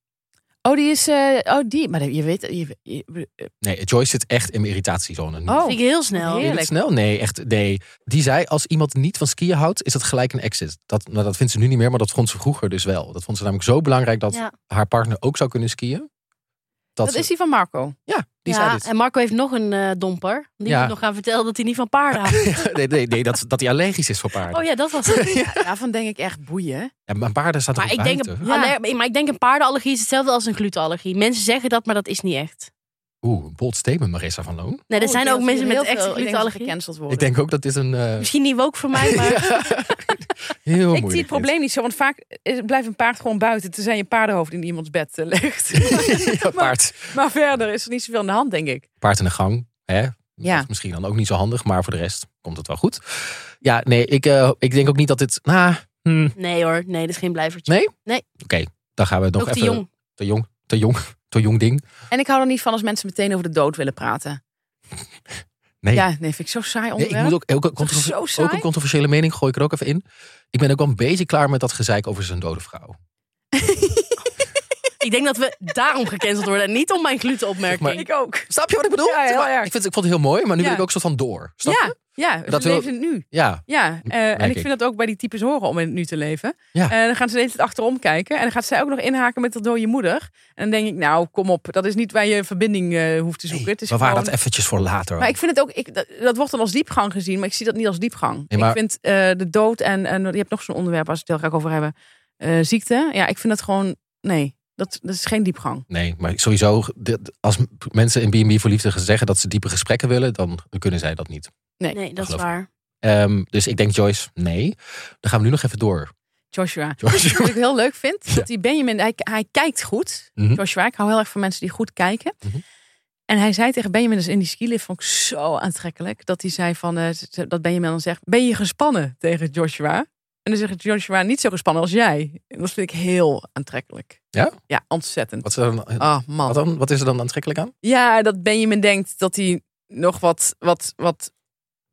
C: Oh, die is... eh, oh, die. Maar je weet... Je, je-
A: Nee, Joyce zit echt in mijn irritatiezone. Niet-
C: oh,
B: Vind ik heel snel.
A: Vind je dit snel? Nee, echt. Nee. Die zei, als iemand niet van skiën houdt, is dat gelijk een exit. Dat, nou, dat vindt ze nu niet meer, maar dat vond ze vroeger dus wel. Dat vond ze namelijk zo belangrijk dat
B: Ja.
A: haar partner ook zou kunnen skiën. Dat,
C: dat
A: ze-
C: is die van Marco.
A: Ja, die
B: ja,
A: zei <laughs> dit.
B: en Marco heeft nog een eh, domper. Die
A: Ja.
B: moet nog gaan vertellen dat hij niet van paarden houdt.
A: <laughs> nee, nee, nee dat, dat hij allergisch is voor paarden.
B: Oh ja, dat was het.
C: <laughs> Ja. Daarvan denk ik echt boeien.
A: Ja, maar paarden staan toch
B: <laughs> Maar
A: ook
B: ik, denk,
A: buiten?
C: Ja.
B: aller- maar ik denk een paardenallergie is hetzelfde als een glutenallergie. Mensen zeggen dat, maar dat is niet echt.
A: Oeh, een bold statement, Marissa van Loon.
B: Nee, er
C: Oh,
B: zijn
C: ik
B: ook
C: denk
B: mensen
C: dat
B: met
C: heel
B: een echte
C: veel- ik denk dat ze
B: glutenallergie.
C: gecanceld worden.
A: Ik denk ook dat dit een... eh,
B: Misschien niet woke voor
A: <laughs>
B: mij, maar...
A: Heel
C: ik zie het probleem niet zo, want vaak eh, blijft een paard gewoon buiten. Tenzij je paardenhoofd in iemands bed eh, ligt.
A: <laughs>
C: <laughs>
A: ja, paard.
C: maar verder is er niet zoveel aan de hand, denk ik.
A: paard in de gang. Hè?
C: Ja.
A: Dat is misschien dan ook niet zo handig, maar voor de rest komt het wel goed. Ja, nee, ik, eh, ik denk ook niet dat dit... Nou, hmm, oké,
B: Nee hoor, nee, dat is geen blijvertje.
A: Nee? dan gaan we nog
B: Ook
A: even...
B: te jong.
A: Te jong, te jong, <laughs> te jong ding.
C: En ik hou er niet van als mensen meteen over de dood willen praten.
A: Nee.
C: Ja, nee, vind ik zo saai
A: Nee,
C: onderwerp.
A: ik moet ook, ook, een
C: Toch
A: controver-
C: zo saai?
A: ook een controversiële mening gooi ik er ook even in. Ik ben ook wel een beetje klaar met dat gezeik over zijn dode vrouw.
B: Ik denk dat we daarom gecanceld worden. En niet om mijn glutenopmerking.
A: Zeg
C: Ik ook.
A: Snap je wat ik bedoel?
C: Ja, heel
A: Maar
C: erg.
A: ik, vind, ik vond het heel mooi, maar nu
C: Ja.
A: wil ik ook soort van door. Snap je?
C: Ja, ja.
A: Dat
C: Dat
A: wil-
C: leven in het nu.
A: Ja.
C: Ja, eh, en
A: merk
C: ik vind dat ook bij die types horen om in het nu te leven.
A: Ja.
C: Eh, dan gaan ze de hele tijd achterom kijken. En dan gaat zij ook nog inhaken met dat dode moeder. En dan denk ik, nou, kom op. Dat is niet waar je verbinding eh, hoeft te zoeken.
A: Hey,
C: het is
A: we waren
C: gewoon-
A: dat eventjes voor later.
C: Maar ik vind het ook, ik, dat, dat wordt dan als diepgang gezien, maar ik zie dat niet als diepgang.
A: Nee, maar-
C: Ik vind eh, de dood en, en je hebt nog zo'n onderwerp waar ze het heel graag over hebben. Eh, ziekte, ja, ik vind dat gewoon, nee, dat, dat is geen diepgang.
A: Nee, maar sowieso, dit- als m- mensen in B&B voor liefde zeggen dat ze diepe gesprekken willen, dan kunnen zij dat niet.
B: Nee, dat is
A: Geloof
B: waar.
A: Ehm, dus ik denk, Joyce, nee. Dan gaan we nu nog even door. <laughs>
C: Joshua.
A: Joyce.
C: Wat ik heel leuk vind,
A: Ja.
C: dat die Benjamin, hij, hij kijkt goed.
A: Mhm.
C: Joshua, ik hou heel erg van mensen die goed kijken.
A: Mhm.
C: En hij zei tegen Benjamin, dus in die skilift vond ik zo aantrekkelijk, dat hij zei van, eh, z- dat Benjamin dan zegt, ben je gespannen tegen Joshua? En dan zegt Joshua, niet zo gespannen als jij. En dat vind ik heel aantrekkelijk.
A: Ja?
C: Ja, ontzettend.
A: Wat is, er dan,
C: Ah,
A: wat,
C: man.
A: dan, wat is er dan aantrekkelijk aan?
C: Ja, dat Benjamin denkt dat hij nog wat, wat, wat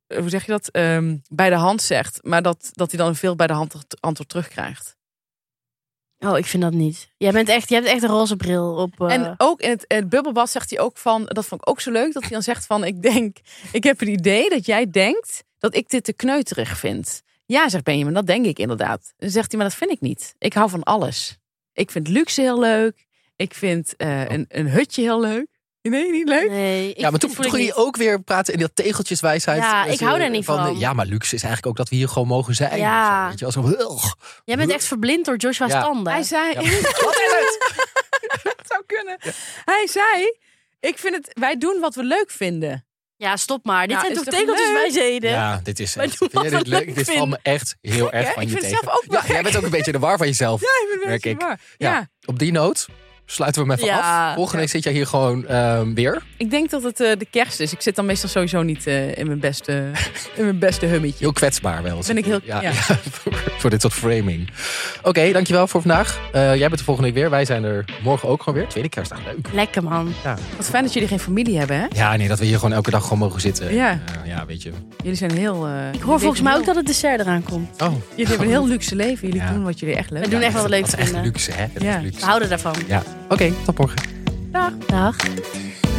C: eh, hoe zeg je dat, Ehm, bij de hand zegt. Maar dat, dat hij dan veel bij de hand antwoord terugkrijgt.
B: Oh, ik vind dat niet. Jij bent echt, jij hebt echt een roze bril op. eh,
C: En ook in het, in het bubbelbad zegt hij ook van, dat vond ik ook zo leuk, dat hij dan zegt van, ik denk, ik heb het idee dat jij denkt dat ik dit te kneuterig vind. Ja, zegt Benjamin, dat denk ik inderdaad. Dan zegt hij, maar dat vind ik niet. Ik hou van alles. Ik vind luxe heel leuk. Ik vind eh, een, een hutje heel leuk. Nee, niet leuk?
B: Nee, ik,
A: ja, maar toen,
B: voel
A: toen
B: ik
A: ging je
B: niet.
A: ook weer praten in dat tegeltjeswijsheid.
B: Ja,
A: Dus,
B: ik hou
A: eh,
B: daar niet van.
A: Ja, maar luxe is eigenlijk ook dat we hier gewoon mogen zijn.
B: Ja.
A: Zo, Weet je, wel, zo, ugh.
B: Jij bent echt verblind door Joshua's
A: Ja.
B: tanden.
C: Hij zei,
A: Ja,
C: <laughs>
A: wat is het?
C: Het zou kunnen. Hij zei: Ik vind het, wij doen wat we leuk vinden.
B: Ja, stop maar. Dit
C: Ja,
B: zijn
C: is
B: toch
C: toch leuk?
B: tegeltjeswijsheden?
A: Ja, dit is
B: Maar
A: echt-
B: doe
A: Vind
B: wat
A: je dit
B: ik
A: leuk?
B: leuk
A: Dit valt me echt heel erg
C: hè?
A: van
C: Ik
A: je
C: vind het
A: tegen.
C: zelf ook wel
A: ja, jij bent ook een beetje in de war van jezelf. Merk ik. Ja.
C: Ja.
A: Op die noot sluiten we hem even
B: Ja.
A: af. Volgende week zit jij hier gewoon ehm, weer.
C: ik denk dat het eh, de kerst is. Ik zit dan meestal sowieso niet eh, in, mijn beste, in mijn beste hummetje.
A: Heel kwetsbaar wel.
C: Ben ik heel- ja.
A: <laughs> voor, voor dit soort framing. Oké, dankjewel voor vandaag. Eh, jij bent de volgende week weer. Wij zijn er morgen ook gewoon weer. Tweede kerstdag, leuk.
B: Lekker man.
C: Wat fijn dat jullie geen familie hebben, hè?
A: Ja, nee, dat we hier gewoon elke dag gewoon mogen zitten.
C: Ja.
A: Eh, ja, weet je.
C: Jullie zijn heel. eh,
B: Ik hoor volgens
C: leven
B: mij
C: heel-
B: ook dat het dessert eraan komt.
A: Oh,
C: Jullie hebben een heel luxe leven. Jullie
A: Ja.
C: doen wat jullie echt leuk
B: We doen echt wat leuk
A: dat is echt
B: vinden.
A: luxe, hè? Dat
C: Ja.
A: is
B: We
A: luxe.
B: houden daarvan.
A: Ja, oké, tot morgen.
C: Dag.
B: Dag.